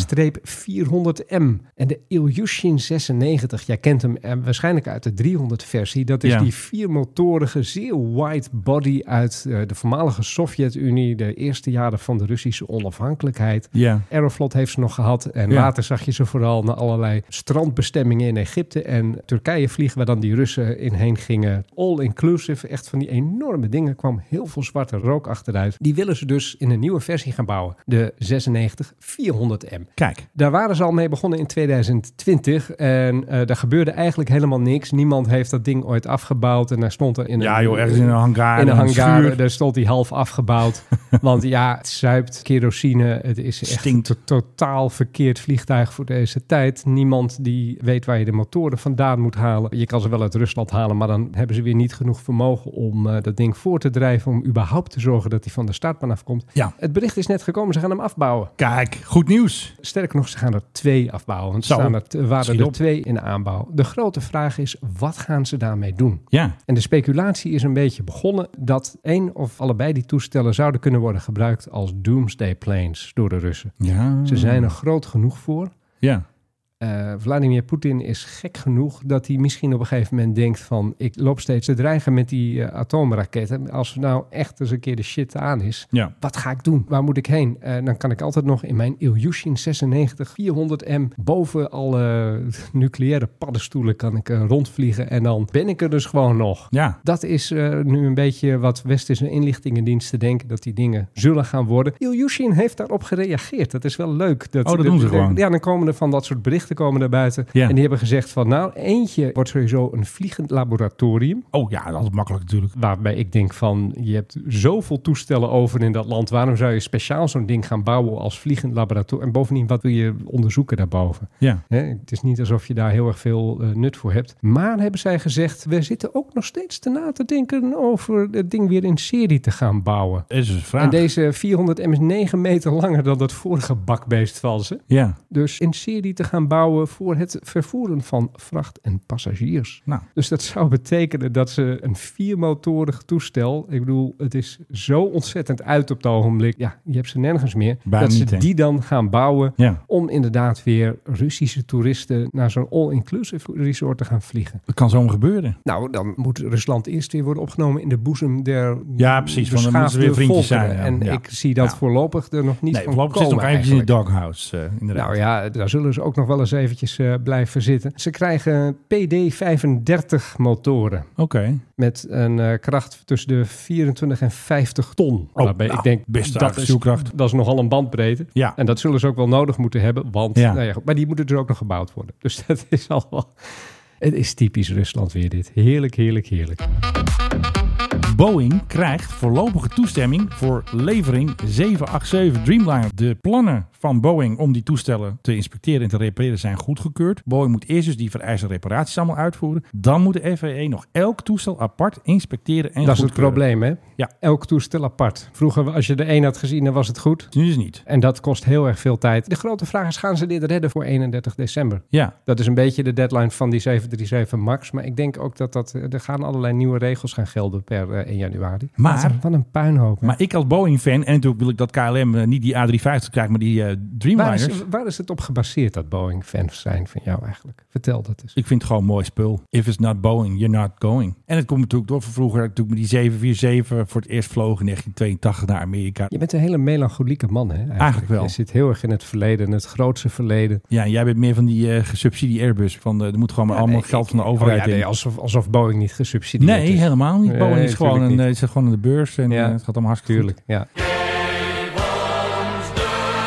S7: 400M. En de Ilyushin 96, jij kent hem eh, waarschijnlijk uit de 300 versie. Dat is
S6: Ja.
S7: die viermotorige, zeer wide body uit eh, de voormalige Sovjet-Unie. De eerste jaren van de Russische onafhankelijkheid.
S6: Ja.
S7: Aeroflot heeft ze nog gehad. En
S6: Ja.
S7: later zag je ze vooral naar allerlei strandbestemmingen in Egypte en Turkije vliegen, waar dan die Russen in heen gingen. All inclusive, echt van die enorme dingen kwam heel veel zwarte rook achteruit. Die willen ze dus in een nieuwe versie gaan bouwen, de 96-400M.
S6: Kijk.
S7: Daar waren ze al mee begonnen in 2020 en eh daar gebeurde eigenlijk helemaal niks. Niemand heeft dat ding ooit afgebouwd en daar stond er in
S6: Ja joh, ergens in een hangar.
S7: in een hangar,
S6: schuur.
S7: daar stond hij half afgebouwd. Want ja, het zuipt kerosine. Het is echt
S6: Stinkt.
S7: een to- totaal verkeerd vliegtuig voor deze tijd. Niemand die weet waar je de motoren vandaan moet halen. Je kan ze wel uit Rusland halen, maar dan hebben ze weer niet genoeg vermogen om eh, dat ding voor te drijven. Om überhaupt te zorgen zorgen dat hij van de startbaan afkomt.
S6: Ja.
S7: Het bericht is net gekomen, ze gaan hem afbouwen.
S6: Kijk, goed nieuws.
S7: Sterker nog, ze gaan er twee afbouwen. Want er
S6: Zo.
S7: staan er, t-
S6: Schiet
S7: waren er
S6: op.
S7: twee in de aanbouw. De grote vraag is, wat gaan ze daarmee doen?
S6: Ja,
S7: En de speculatie is een beetje begonnen dat één of allebei die toestellen zouden kunnen worden gebruikt als doomsday planes door de Russen.
S6: ja.
S7: Ze zijn er groot genoeg voor.
S6: Ja,
S7: Eh, Vladimir Poetin is gek genoeg dat hij misschien op een gegeven moment denkt van... ik loop steeds te dreigen met die eh, atoomraketten. Als er nou echt eens een keer de shit aan is,
S6: ja.
S7: wat ga ik doen? Waar moet ik heen? Eh, dan kan ik altijd nog in mijn Ilyushin 96 400M boven alle nucleaire paddenstoelen kan ik eh, rondvliegen. En dan ben ik er dus gewoon nog.
S6: ja.
S7: Dat is eh, nu een beetje wat westerse inlichtingendiensten denken dat die dingen zullen gaan worden. Ilyushin heeft daarop gereageerd. Dat is wel leuk.
S6: Oh, dat doen ze gewoon.
S7: Ja, dan komen er van dat soort berichten komen er buiten.
S6: Ja.
S7: En die hebben gezegd van nou, eentje wordt sowieso een vliegend laboratorium.
S6: Oh ja, dat is makkelijk natuurlijk.
S7: Waarbij ik denk van, je hebt zoveel toestellen over in dat land. Waarom zou je speciaal zo'n ding gaan bouwen als vliegend laboratorium? En bovendien, wat wil je onderzoeken daarboven?
S6: Ja.
S7: Hè, het is niet alsof je daar heel erg veel eh, nut voor hebt. Maar hebben zij gezegd, we zitten ook nog steeds te na te denken over het ding weer in serie te gaan bouwen.
S6: Dat is een vraag.
S7: En deze 400 M is 9 meter langer dan dat vorige bakbeest van ze.
S6: Ja,
S7: Dus in serie te gaan bouwen voor het vervoeren van vracht en passagiers.
S6: nou.
S7: Dus dat zou betekenen dat ze een viermotorig toestel, ik bedoel, het is zo ontzettend uit op het ogenblik. Ja, je hebt ze nergens meer.
S6: Bijna
S7: dat ze
S6: niet, hè?
S7: die dan gaan bouwen
S6: Ja,
S7: om inderdaad weer Russische toeristen naar zo'n all-inclusive resort te gaan vliegen.
S6: dat kan zomaar gebeuren.
S7: Nou, dan moet Rusland eerst weer worden opgenomen in de boezem der
S6: Ja, precies, want dan moeten ze weer
S7: beschaafde
S6: vriendjes
S7: volkeren.
S6: zijn, ja.
S7: En
S6: Ja.
S7: ik zie dat
S6: Ja.
S7: voorlopig er nog niet
S6: Nee,
S7: van
S6: voorlopig zit het nog
S7: komen
S6: eventjes in de
S7: eigenlijk.
S6: doghouse, eh, inderdaad.
S7: Nou ja, daar zullen ze ook nog wel eens eventjes eh, blijven zitten. Ze krijgen PD-35 motoren
S6: Oké.
S7: met een eh, kracht tussen de 24 en 50 ton.
S6: Oh,
S7: Waarbij
S6: nou,
S7: ik denk,
S6: best
S7: dat
S6: aardige
S7: is,
S6: stuwkracht.
S7: dat is nogal een bandbreedte.
S6: Ja.
S7: En dat zullen ze ook wel nodig moeten hebben, want,
S6: Ja.
S7: Nou ja, goed, maar die moeten dus ook nog gebouwd worden. Dus dat is al wel... Het is typisch Rusland weer dit. Heerlijk, heerlijk, heerlijk.
S6: Boeing krijgt voorlopige toestemming voor levering 787 Dreamliner. De plannen van Boeing om die toestellen te inspecteren en te repareren zijn goedgekeurd. Boeing moet eerst dus die vereiste reparaties allemaal uitvoeren. Dan moet de FAA nog elk toestel apart inspecteren en
S7: dat is het
S6: goedkeuren.
S7: probleem, hè?
S6: eh, Ja.
S7: Elk toestel apart. Vroeger, als je er één had gezien, dan was het goed.
S6: Nu is het niet.
S7: En dat kost heel erg veel tijd. De grote vraag is, gaan ze dit redden voor 31 december?
S6: Ja,
S7: Dat is een beetje de deadline van die 737 MAX. Maar ik denk ook dat, dat eh, er gaan allerlei nieuwe regels gaan gelden per eh, 1 januari.
S6: Maar-
S7: Wat een- Wat een puinhoop. hè.
S6: maar ik als Boeing-fan, en natuurlijk wil ik dat KLM eh, niet die A350 krijgt, maar die eh,
S7: waar,
S6: Dreamliners.
S7: is, waar is het op gebaseerd dat Boeing-fans zijn van jou eigenlijk? Vertel dat eens.
S6: Ik vind het gewoon mooi spul. If it's not Boeing, you're not going. En het komt natuurlijk door van vroeger, natuurlijk met die 747 voor het eerst vlogen in 1982 naar Amerika.
S7: Je bent een hele melancholieke man, hè? Eigenlijk,
S6: Eigenlijk wel.
S7: Je zit heel erg in het verleden, het grootste verleden.
S6: Ja, en jij bent meer van die eh gesubsidie Airbus. Van, eh, er moet gewoon maar allemaal
S7: Nee,
S6: geld
S7: ik-
S6: van de
S7: oh
S6: overheid
S7: ja, nee,
S6: in.
S7: alsof, alsof Boeing niet gesubsidieerd
S6: Nee,
S7: is.
S6: helemaal niet.
S7: Nee,
S6: Boeing is, gewoon
S7: tuurlijk
S6: een,
S7: niet.
S6: eh, zit gewoon aan de beurs en
S7: Ja,
S6: eh, het gaat allemaal hartstikke
S7: Tuurlijk, ja.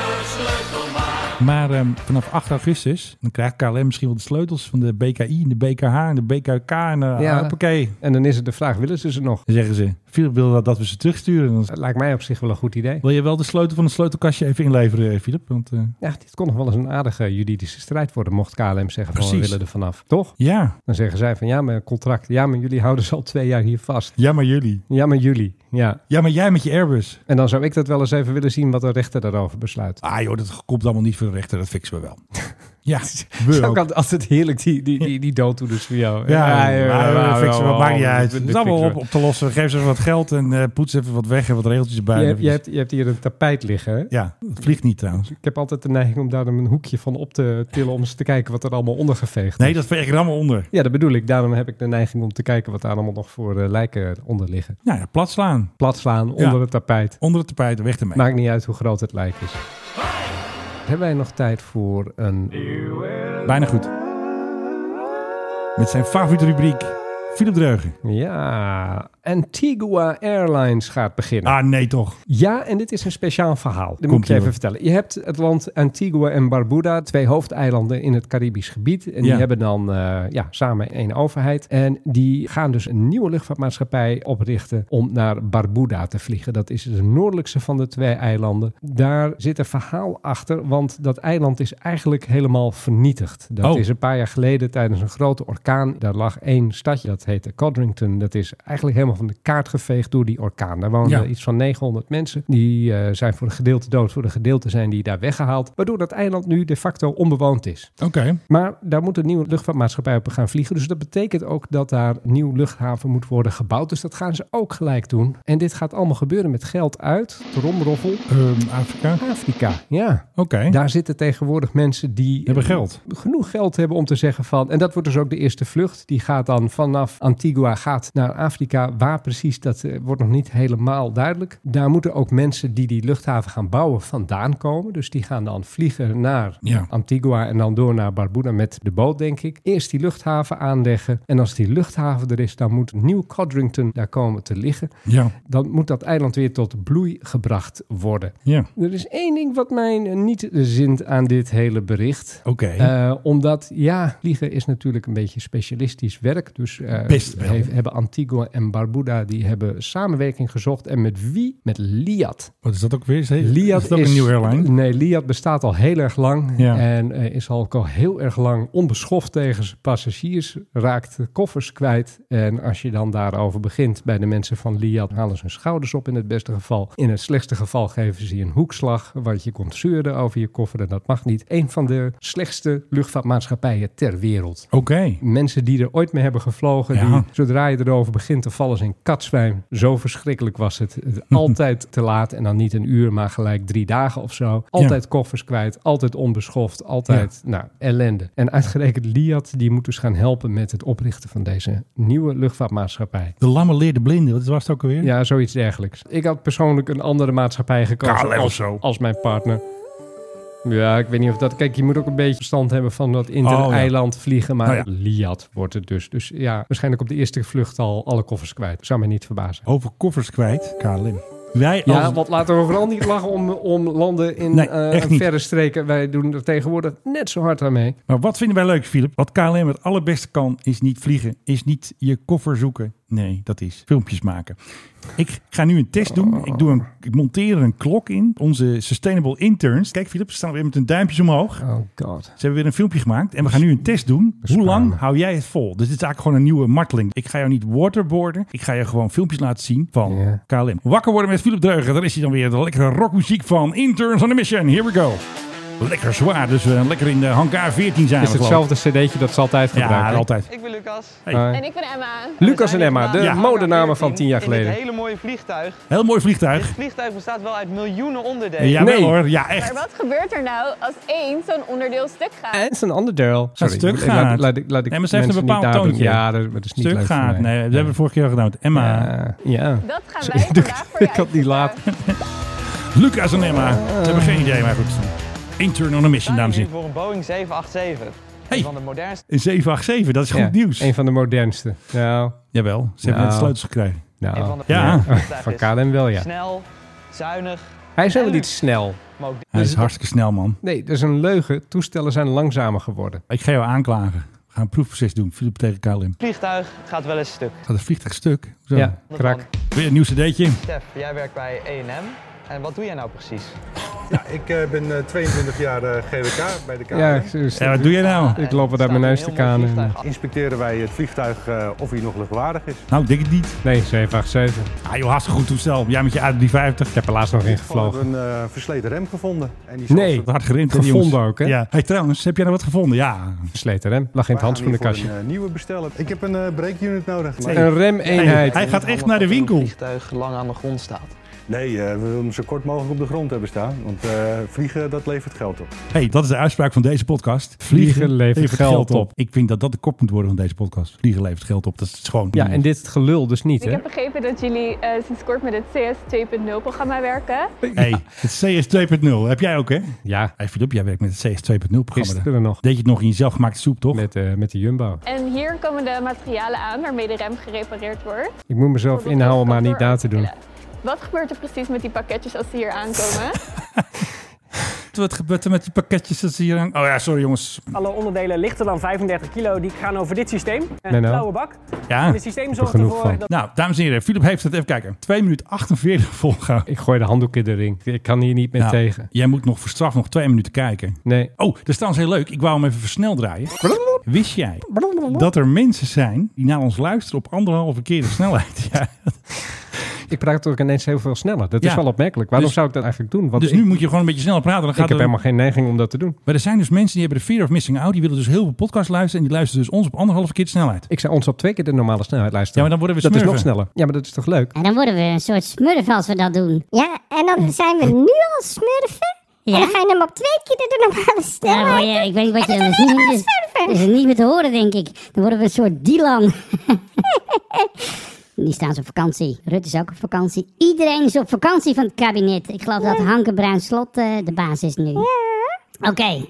S6: goed. Maar eh, vanaf 8 augustus, dan krijgt KLM misschien wel de sleutels van de BKI en de BKH en de BKK en de
S7: Ja.
S6: hoppakee.
S7: En dan is het de vraag, willen ze ze nog?
S6: Dan zeggen ze, Philip wil dat, dat we ze terugsturen. Dan
S7: Dat lijkt mij op zich wel een goed idee.
S6: wil je wel de sleutel van het sleutelkastje even inleveren, eh, Philip? Want eh,
S7: Ja, dit kon nog wel eens een aardige juridische strijd worden, mocht KLM zeggen van we
S6: Precies.
S7: willen er vanaf. Toch?
S6: ja,
S7: Dan zeggen zij van ja, mijn contract. Ja, maar jullie houden ze al twee jaar hier vast.
S6: ja maar jullie.
S7: Ja, maar jullie. Ja.
S6: Ja, maar jij met je Airbus.
S7: En dan zou ik dat wel eens even willen zien wat de rechter daarover besluit.
S6: Ah joh, dat komt allemaal niet voor de rechter, dat fixen we wel. ja, we
S7: Zo
S6: ook.
S7: kan altijd heerlijk die, die, die, die dooddoeners voor jou.
S6: Ja, maar we fixen wel, maakt niet uit.
S7: Dit
S6: Het is allemaal
S7: fixen
S6: op,
S7: we.
S6: op te lossen. Geef ze even wat geld en eh, poets even wat weg en wat regeltjes erbij.
S7: Je hebt, je, hebt, je hebt hier een tapijt liggen. hè?
S6: Ja, het vliegt niet trouwens.
S7: Ik heb altijd de neiging om daar dan een hoekje van op te tillen om eens te kijken wat er allemaal ondergeveegd
S6: Nee,
S7: is.
S6: dat veeg ik er allemaal onder.
S7: Ja, dat bedoel ik. Daarom heb ik de neiging om te kijken wat daar allemaal nog voor eh, lijken onder liggen.
S6: Nou ja, plat slaan.
S7: Plat slaan onder het tapijt.
S6: Onder het tapijt, weg ermee.
S7: Maakt niet uit hoe groot het lijk is. Hebben wij nog tijd voor een...
S6: Bijna goed. Met zijn favoriete rubriek, Philip Dreugen.
S7: Ja, Antigua Airlines gaat beginnen.
S6: Ah, nee toch.
S7: Ja, en dit is een speciaal verhaal. Dat moet ik
S6: ie,
S7: je even
S6: hoor.
S7: vertellen. Je hebt het land Antigua en Barbuda, twee hoofdeilanden in het Caribisch gebied. En die
S6: Ja.
S7: hebben dan eh, ja, samen één overheid. En die gaan dus een nieuwe luchtvaartmaatschappij oprichten om naar Barbuda te vliegen. Dat is de noordelijkste van de twee eilanden. Daar zit een verhaal achter, want dat eiland is eigenlijk helemaal vernietigd. Dat
S6: Oh.
S7: is een paar jaar geleden tijdens een grote orkaan. Daar lag één stadje dat dat heette Codrington. Dat is eigenlijk helemaal van de kaart geveegd door die orkaan. Daar woonden
S6: Ja.
S7: iets van 900 mensen. Die eh, zijn voor een gedeelte dood, voor een gedeelte zijn die daar weggehaald. Waardoor dat eiland nu de facto onbewoond is.
S6: Oké.
S7: Maar daar moet een nieuwe luchtvaartmaatschappij op gaan vliegen. Dus dat betekent ook dat daar een nieuw luchthaven moet worden gebouwd. Dus dat gaan ze ook gelijk doen. En dit gaat allemaal gebeuren met geld uit. Tromroffel.
S6: Ehm, Afrika.
S7: Afrika, ja.
S6: Oké.
S7: Daar zitten tegenwoordig mensen die
S6: Hebben geld.
S7: genoeg geld hebben om te zeggen van... En dat wordt dus ook de eerste vlucht. Die gaat dan vanaf Antigua gaat naar Afrika. Waar precies, dat eh, wordt nog niet helemaal duidelijk. Daar moeten ook mensen die die luchthaven gaan bouwen vandaan komen. Dus die gaan dan vliegen naar
S6: Ja.
S7: Antigua en dan door naar Barbuda met de boot, denk ik. Eerst die luchthaven aanleggen. En als die luchthaven er is, dan moet Nieuw Codrington daar komen te liggen.
S6: Ja.
S7: Dan moet dat eiland weer tot bloei gebracht worden.
S6: Ja.
S7: Er is één ding wat mij niet zint aan dit hele bericht.
S6: Oké.
S7: Eh, omdat, ja, vliegen is natuurlijk een beetje specialistisch werk. Dus eh,
S6: Best wel.
S7: hef- hebben Antigua en Barbuda die hebben samenwerking gezocht. En met wie? Met Liat.
S6: Wat is dat ook weer? Is,
S7: Liat
S6: is dat ook een nieuwe airline?
S7: Nee, Liat bestaat al heel erg lang.
S6: Ja.
S7: En eh, is al, ook al heel erg lang onbeschoft tegen zijn passagiers. Raakt de koffers kwijt. En als je dan daarover begint bij de mensen van Liat, halen ze hun schouders op in het beste geval. In het slechtste geval geven ze je een hoekslag. Want je komt zeuren over je koffer en dat mag niet. Een van de slechtste luchtvaartmaatschappijen ter wereld.
S6: Oké.
S7: Mensen die er ooit mee hebben gevlogen,
S6: Ja.
S7: die zodra je erover begint te vallen, zijn katzwijn. Zo verschrikkelijk was het. Het- Altijd te laat en dan niet een uur, maar gelijk drie dagen of zo. Altijd koffers kwijt, altijd onbeschoft, altijd nou, ellende. En uitgerekend Liat, die moet dus gaan helpen met het oprichten van deze nieuwe luchtvaartmaatschappij.
S6: De lamme leerde blinden. Wat was het ook alweer?
S7: Ja, zoiets dergelijks. Ik had persoonlijk een andere maatschappij gekozen
S6: KLM of
S7: als,
S6: zo.
S7: als mijn partner. Ja, ik weet niet of dat... Kijk, je moet ook een beetje verstand hebben van
S6: Oh,
S7: dat
S6: ja.
S7: inter-eiland vliegen. Maar
S6: Nou
S7: Liat wordt het dus. Dus ja, waarschijnlijk op de eerste vlucht al alle koffers kwijt. Zou mij niet verbazen.
S6: Over koffers kwijt. KLM. Wij
S7: Ja,
S6: als...
S7: want laten we vooral niet lachen om, om landen in
S6: Nee,
S7: eh,
S6: echt niet.
S7: verre streken. Wij doen er tegenwoordig net zo hard aan mee.
S6: Maar wat vinden wij leuk, Philip? Wat KLM het allerbeste kan, is niet vliegen. Is niet je koffer zoeken. Nee, dat is filmpjes maken. Ik ga nu een test doen. Ik, doe een, ik monteer er een klok in. Onze Sustainable Interns. Kijk, Philip, ze staan weer met hun duimpjes omhoog.
S7: Oh god.
S6: Ze hebben weer een filmpje gemaakt en we gaan nu een test doen. Hoe lang hou jij het vol? Dus dit is eigenlijk gewoon een nieuwe marteling. Ik ga jou niet waterboarden. Ik ga je gewoon filmpjes laten zien van
S7: Ja.
S6: KLM. Wakker worden met Philip Dreugen. Daar is hij dan weer. De lekkere rockmuziek van Interns on a Mission. Here we go. Lekker zwaar. Dus we lekker in de hangar 14 zijn
S7: Is
S6: we, geloof ik.
S7: hetzelfde cd'tje dat ze altijd gebruiken.
S6: Ja, altijd.
S2: Ik ben Lucas.
S7: Eh,
S12: En ik ben Emma.
S7: Lucas en Emma, de
S6: Ja.
S7: modenamen van tien jaar
S2: In
S7: geleden.
S2: dit hele mooie vliegtuig.
S6: Heel mooi
S2: Dit
S6: vliegtuig.
S2: vliegtuig bestaat wel uit miljoenen onderdelen.
S6: Ja,
S7: Eh, Nee.
S6: hoor. Ja,
S12: Maar
S6: echt.
S12: wat gebeurt er nou als één zo'n onderdeel stuk gaat?
S7: Het is een ander deel. Sorry,
S6: stuk
S7: ik- ik-
S6: gaat.
S7: Laat, laat, ik- laat ik
S6: Nee, maar ze heeft
S7: mensen
S6: een
S7: niet
S6: bepaald
S7: daar doen.
S6: toontje.
S7: Ja, dat, dat is niet
S6: Stuk
S7: leuk voor
S6: gaat.
S7: mij.
S6: Nee, dat hebben we vorige keer al gedaan. met Emma.
S7: Ja, ja.
S12: Dat gaan wij
S7: Sorry,
S12: vandaag voor je
S7: ik had niet laat.
S12: uitzoeken.
S6: Lucas en Emma. Ze hebben geen idee, maar goed. Intern on a
S2: We
S6: Mission,
S2: staan
S6: dames en
S2: hier nu
S7: Ah,
S6: heren.
S2: voor een Boeing 787.
S6: Hey.
S2: Een van de modernste.
S6: Een 787, dat is goed
S7: Ja,
S6: nieuws.
S7: Een van de modernste. Nou,
S6: Jawel, ze hebben
S7: Nou.
S6: net de sleutels gekregen.
S2: Een van
S7: nou.
S2: de
S6: Ja.
S2: modernste vliegtuigen
S7: Van
S2: is.
S7: KLM wel, ja.
S2: Snel, zuinig,
S7: Hij is helemaal niet snel.
S2: maar ook
S6: Hij is hartstikke snel, man.
S7: Nee, dat is een leugen. Toestellen zijn langzamer geworden.
S6: Ik ga jou aanklagen. We gaan een proefproces doen. Philip tegen KLM.
S2: dit vliegtuig gaat wel eens stuk.
S6: Gaat het vliegtuig stuk? Zo.
S7: Ja, krak.
S6: Weer een nieuw cd'tje.
S2: Stef, jij werkt bij E&M. En wat doe jij nou precies?
S1: Ik eh, ben eh, 22 jaar eh, GWK bij de KLM.
S7: Ja, dus-
S6: Ja, wat doe jij nou?
S7: Ik loop er uit
S2: daar
S7: mijn neus te kanen.
S1: Inspecteren wij het vliegtuig eh, of hij nog luchtwaardig is.
S6: Nou, ik denk het niet.
S7: Nee, 787.
S6: Ah joh, hartstikke goed toestel. Jij met je A350.
S7: Ik heb er laatst nog in
S1: We hebben
S7: gevlogen.
S1: een eh, versleten rem gevonden. En die
S7: Nee.
S6: Dat hard gerimd. hè,
S7: Gevonden
S6: jongens.
S7: ook, hè?
S6: Ja. Hey, trouwens, heb jij nou wat gevonden? Ja.
S7: Versleten rem. Lag in het
S1: handschoenenkastje.
S7: handschoenenkastje.
S1: een eh, nieuwe bestellen. Ik heb een eh brake unit nodig. Maar-
S7: Een remeenheid.
S6: Hij gaat echt naar de winkel.
S2: Het vliegtuig lang aan de grond staat.
S1: Nee, eh, we willen hem zo kort mogelijk op de grond hebben staan. Want eh, vliegen, dat levert geld op.
S6: hey, dat is de uitspraak van deze podcast.
S7: Vliegen levert geld op.
S6: Ik vind dat dat de kop moet worden van deze podcast. Vliegen levert geld op. Dat is gewoon...
S7: Ja, en dit gelul dus niet,
S12: Ik
S7: hè?
S12: heb begrepen dat jullie eh, sinds kort met het CS 2.0 programma werken.
S6: Hey, het CS 2.0. Heb jij ook, hè?
S7: Ja,
S6: Hey, Philip, jij werkt met het CS 2.0 programma.
S7: gisteren nog.
S6: Deed je het nog in je zelfgemaakte soep, toch?
S7: Met, eh, met de Jumbo.
S12: En hier komen de materialen aan waarmee de rem gerepareerd wordt.
S7: Ik moet mezelf inhouden om maar niet na te doen.
S12: Wat gebeurt er precies met die pakketjes als ze hier aankomen?
S6: Wat gebeurt er met die pakketjes dat ze hier hangen? Oh ja, sorry jongens.
S13: Alle onderdelen lichter dan 35 kilo die gaan over dit systeem. Een
S6: Nee, nou.
S13: blauwe bak.
S6: Ja.
S13: En het systeem zorgt ervoor dat...
S6: Nou, dames en heren, Philip heeft het even kijken. 2 minuten 48 volgehouden.
S7: Ik gooi de handdoek in de ring. Ik kan hier niet meer
S6: Nou,
S7: tegen.
S6: Jij moet nog voor straf nog twee minuten kijken.
S7: Nee.
S6: Oh, dat is trouwens heel leuk. Ik wou hem even versneld draaien. Wist jij dat er mensen zijn die naar ons luisteren op anderhalve keer de snelheid? Ja.
S7: Ik praat ook ineens heel veel sneller. Dat
S6: Ja.
S7: is wel opmerkelijk. Waarom
S6: Dus-
S7: zou ik dat eigenlijk doen? Want
S6: dus
S7: ik,
S6: nu moet je gewoon een beetje sneller praten. Dan
S7: ik
S6: gaat
S7: heb
S6: het-
S7: helemaal geen neiging om dat te doen.
S6: Maar er zijn dus mensen die hebben de fear of missing out. Die willen dus heel veel podcasts luisteren. En die luisteren dus ons op anderhalve keer de snelheid.
S7: Ik zou ons op twee keer de normale snelheid luisteren.
S6: Ja, maar dan worden we
S7: Dat is nog
S6: smurfen.
S7: sneller. Ja, maar dat is toch leuk?
S14: En dan worden we een soort smurfen als we dat doen. Ja, en dan zijn we nu al smurfen. En dan ga je hem op twee keer de normale snelheid. Ja, ik weet niet wat je... Dat is niet, dat is- dat is dus niet meer te horen, denk ik. Dan worden we een soort Dylan. Die staan ze op vakantie. Rutte is ook op vakantie. Iedereen is op vakantie van het kabinet. Ik geloof dat Hanke Bruin Slot eh, de baas is nu. Oké.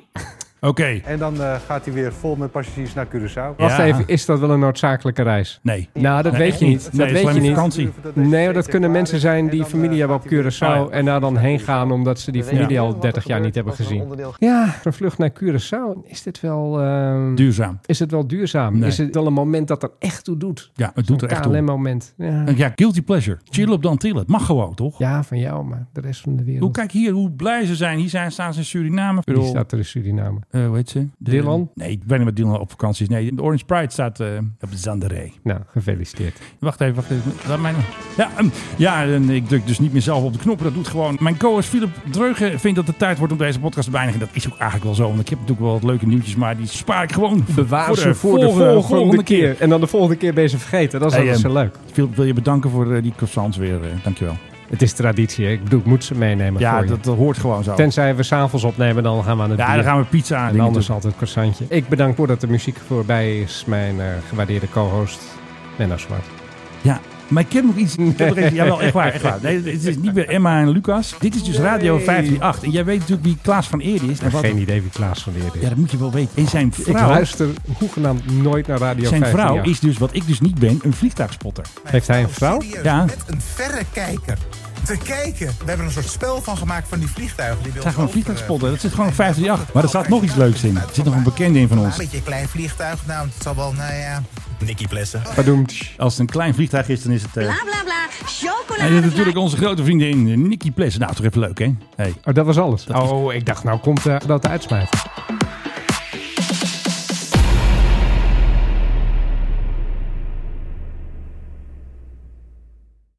S6: Oké.
S1: En dan eh, gaat hij weer vol met passagiers naar Curaçao.
S7: Wacht even, is dat wel een noodzakelijke reis?
S6: Nee.
S7: Nou, dat
S6: Nee,
S7: weet
S6: echt
S7: je
S6: niet. Nee,
S7: niet. dat
S6: het is
S7: weet je
S6: alleen
S7: niet.
S6: vakantie.
S7: Nee, dat kunnen mensen zijn die
S1: eh,
S7: familie hebben op Curaçao en daar dan heen gaan omdat ze die familie al 30 jaar niet hebben gezien. Ja, een vlucht naar Curaçao, is dit wel... ehm,
S6: Duurzaam.
S7: Is het wel duurzaam?
S6: Nee.
S7: Is het wel een moment dat er echt toe doet?
S6: Ja, het doet er echt toe.
S7: KLM-moment. Ja.
S6: Ja, guilty pleasure. Chill op de Antillen. Het mag gewoon, toch?
S7: Ja, van jou, maar de rest van de wereld.
S6: Hoe kijk hier, hoe blij ze zijn. Hier zijn, staan ze in Suriname. Ik
S7: Die
S6: bedoel,
S7: staat er in Suriname.
S6: eh, hoe heet ze? De-
S7: Dylan?
S6: Nee, ik weet niet wat Dylan op vakantie is. Nee, de Orange Pride staat eh, op Zanderé.
S7: Nou, gefeliciteerd.
S6: Wacht even, wacht even. Laat mij nog- Ja, ehm, ja, en ik druk dus niet meer zelf op de knoppen. Dat doet gewoon. Mijn co-host Philip Dreugen vindt dat het tijd wordt om deze podcast te beëindigen. Dat is ook eigenlijk wel zo. Want ik heb natuurlijk wel wat leuke nieuwtjes, maar die spaar ik gewoon
S7: Bewaar ze voor de volgende, keer. En dan de volgende keer ben je ze vergeten. Dat is
S6: Hey,
S7: altijd
S6: ehm,
S7: zo leuk.
S6: Philip, wil je bedanken voor eh, die croissants weer. eh, dankjewel.
S7: Het is traditie. hè. Ik bedoel, ik moet ze meenemen
S6: Ja,
S7: voor je.
S6: dat, dat hoort gewoon zo.
S7: Tenzij we s'avonds opnemen, dan gaan we aan het
S6: ja,
S7: bier.
S6: dan gaan we pizza aan.
S7: En anders altijd croissantje. Ik bedank voordat de muziek voorbij is. Mijn eh, gewaardeerde co-host Menno Zwart.
S6: Ja, maar ik heb nog iets. Ik heb nog even, jawel, echt waar. Echt waar. Nee, het is niet meer Emma en Lucas. Dit is dus Radio 538. En jij weet natuurlijk wie Klaas van Eerde is. En wat-
S7: Geen idee wie Klaas van Leer is.
S6: Ja, dat moet je wel weten. En zijn
S7: ik
S6: vrouw,
S7: luister hoegenaamd nooit naar Radio
S6: zijn
S7: 538.
S6: vrouw is dus, wat ik dus niet ben, een vliegtuigspotter.
S7: Heeft hij een vrouw?
S6: Ja.
S3: Met een verrekijker. Te kijken. We hebben er een soort spel van gemaakt van die vliegtuigen. Die
S6: Het
S3: wil
S6: zijn
S3: over,
S6: gewoon
S3: eh,
S6: vliegtuigspotten. Dat zit gewoon op 538. Maar er staat nog iets leuks in. Er zit nog een bekende in van
S3: Een
S6: ons.
S3: beetje een eh, klein vliegtuig. Nou, het zal wel, nou ja... Nicky Plessen.
S7: Verdoemd.
S6: Als het een klein vliegtuig is, dan is het... eh,
S5: bla bla,
S6: en
S5: chocolade.
S6: dit is natuurlijk onze grote eh, vriendin Nicky Plessen. Nou, toch even leuk, hè? Hey.
S7: Oh, dat was alles. oh, ik dacht, nou komt eh, dat de uitsmijt.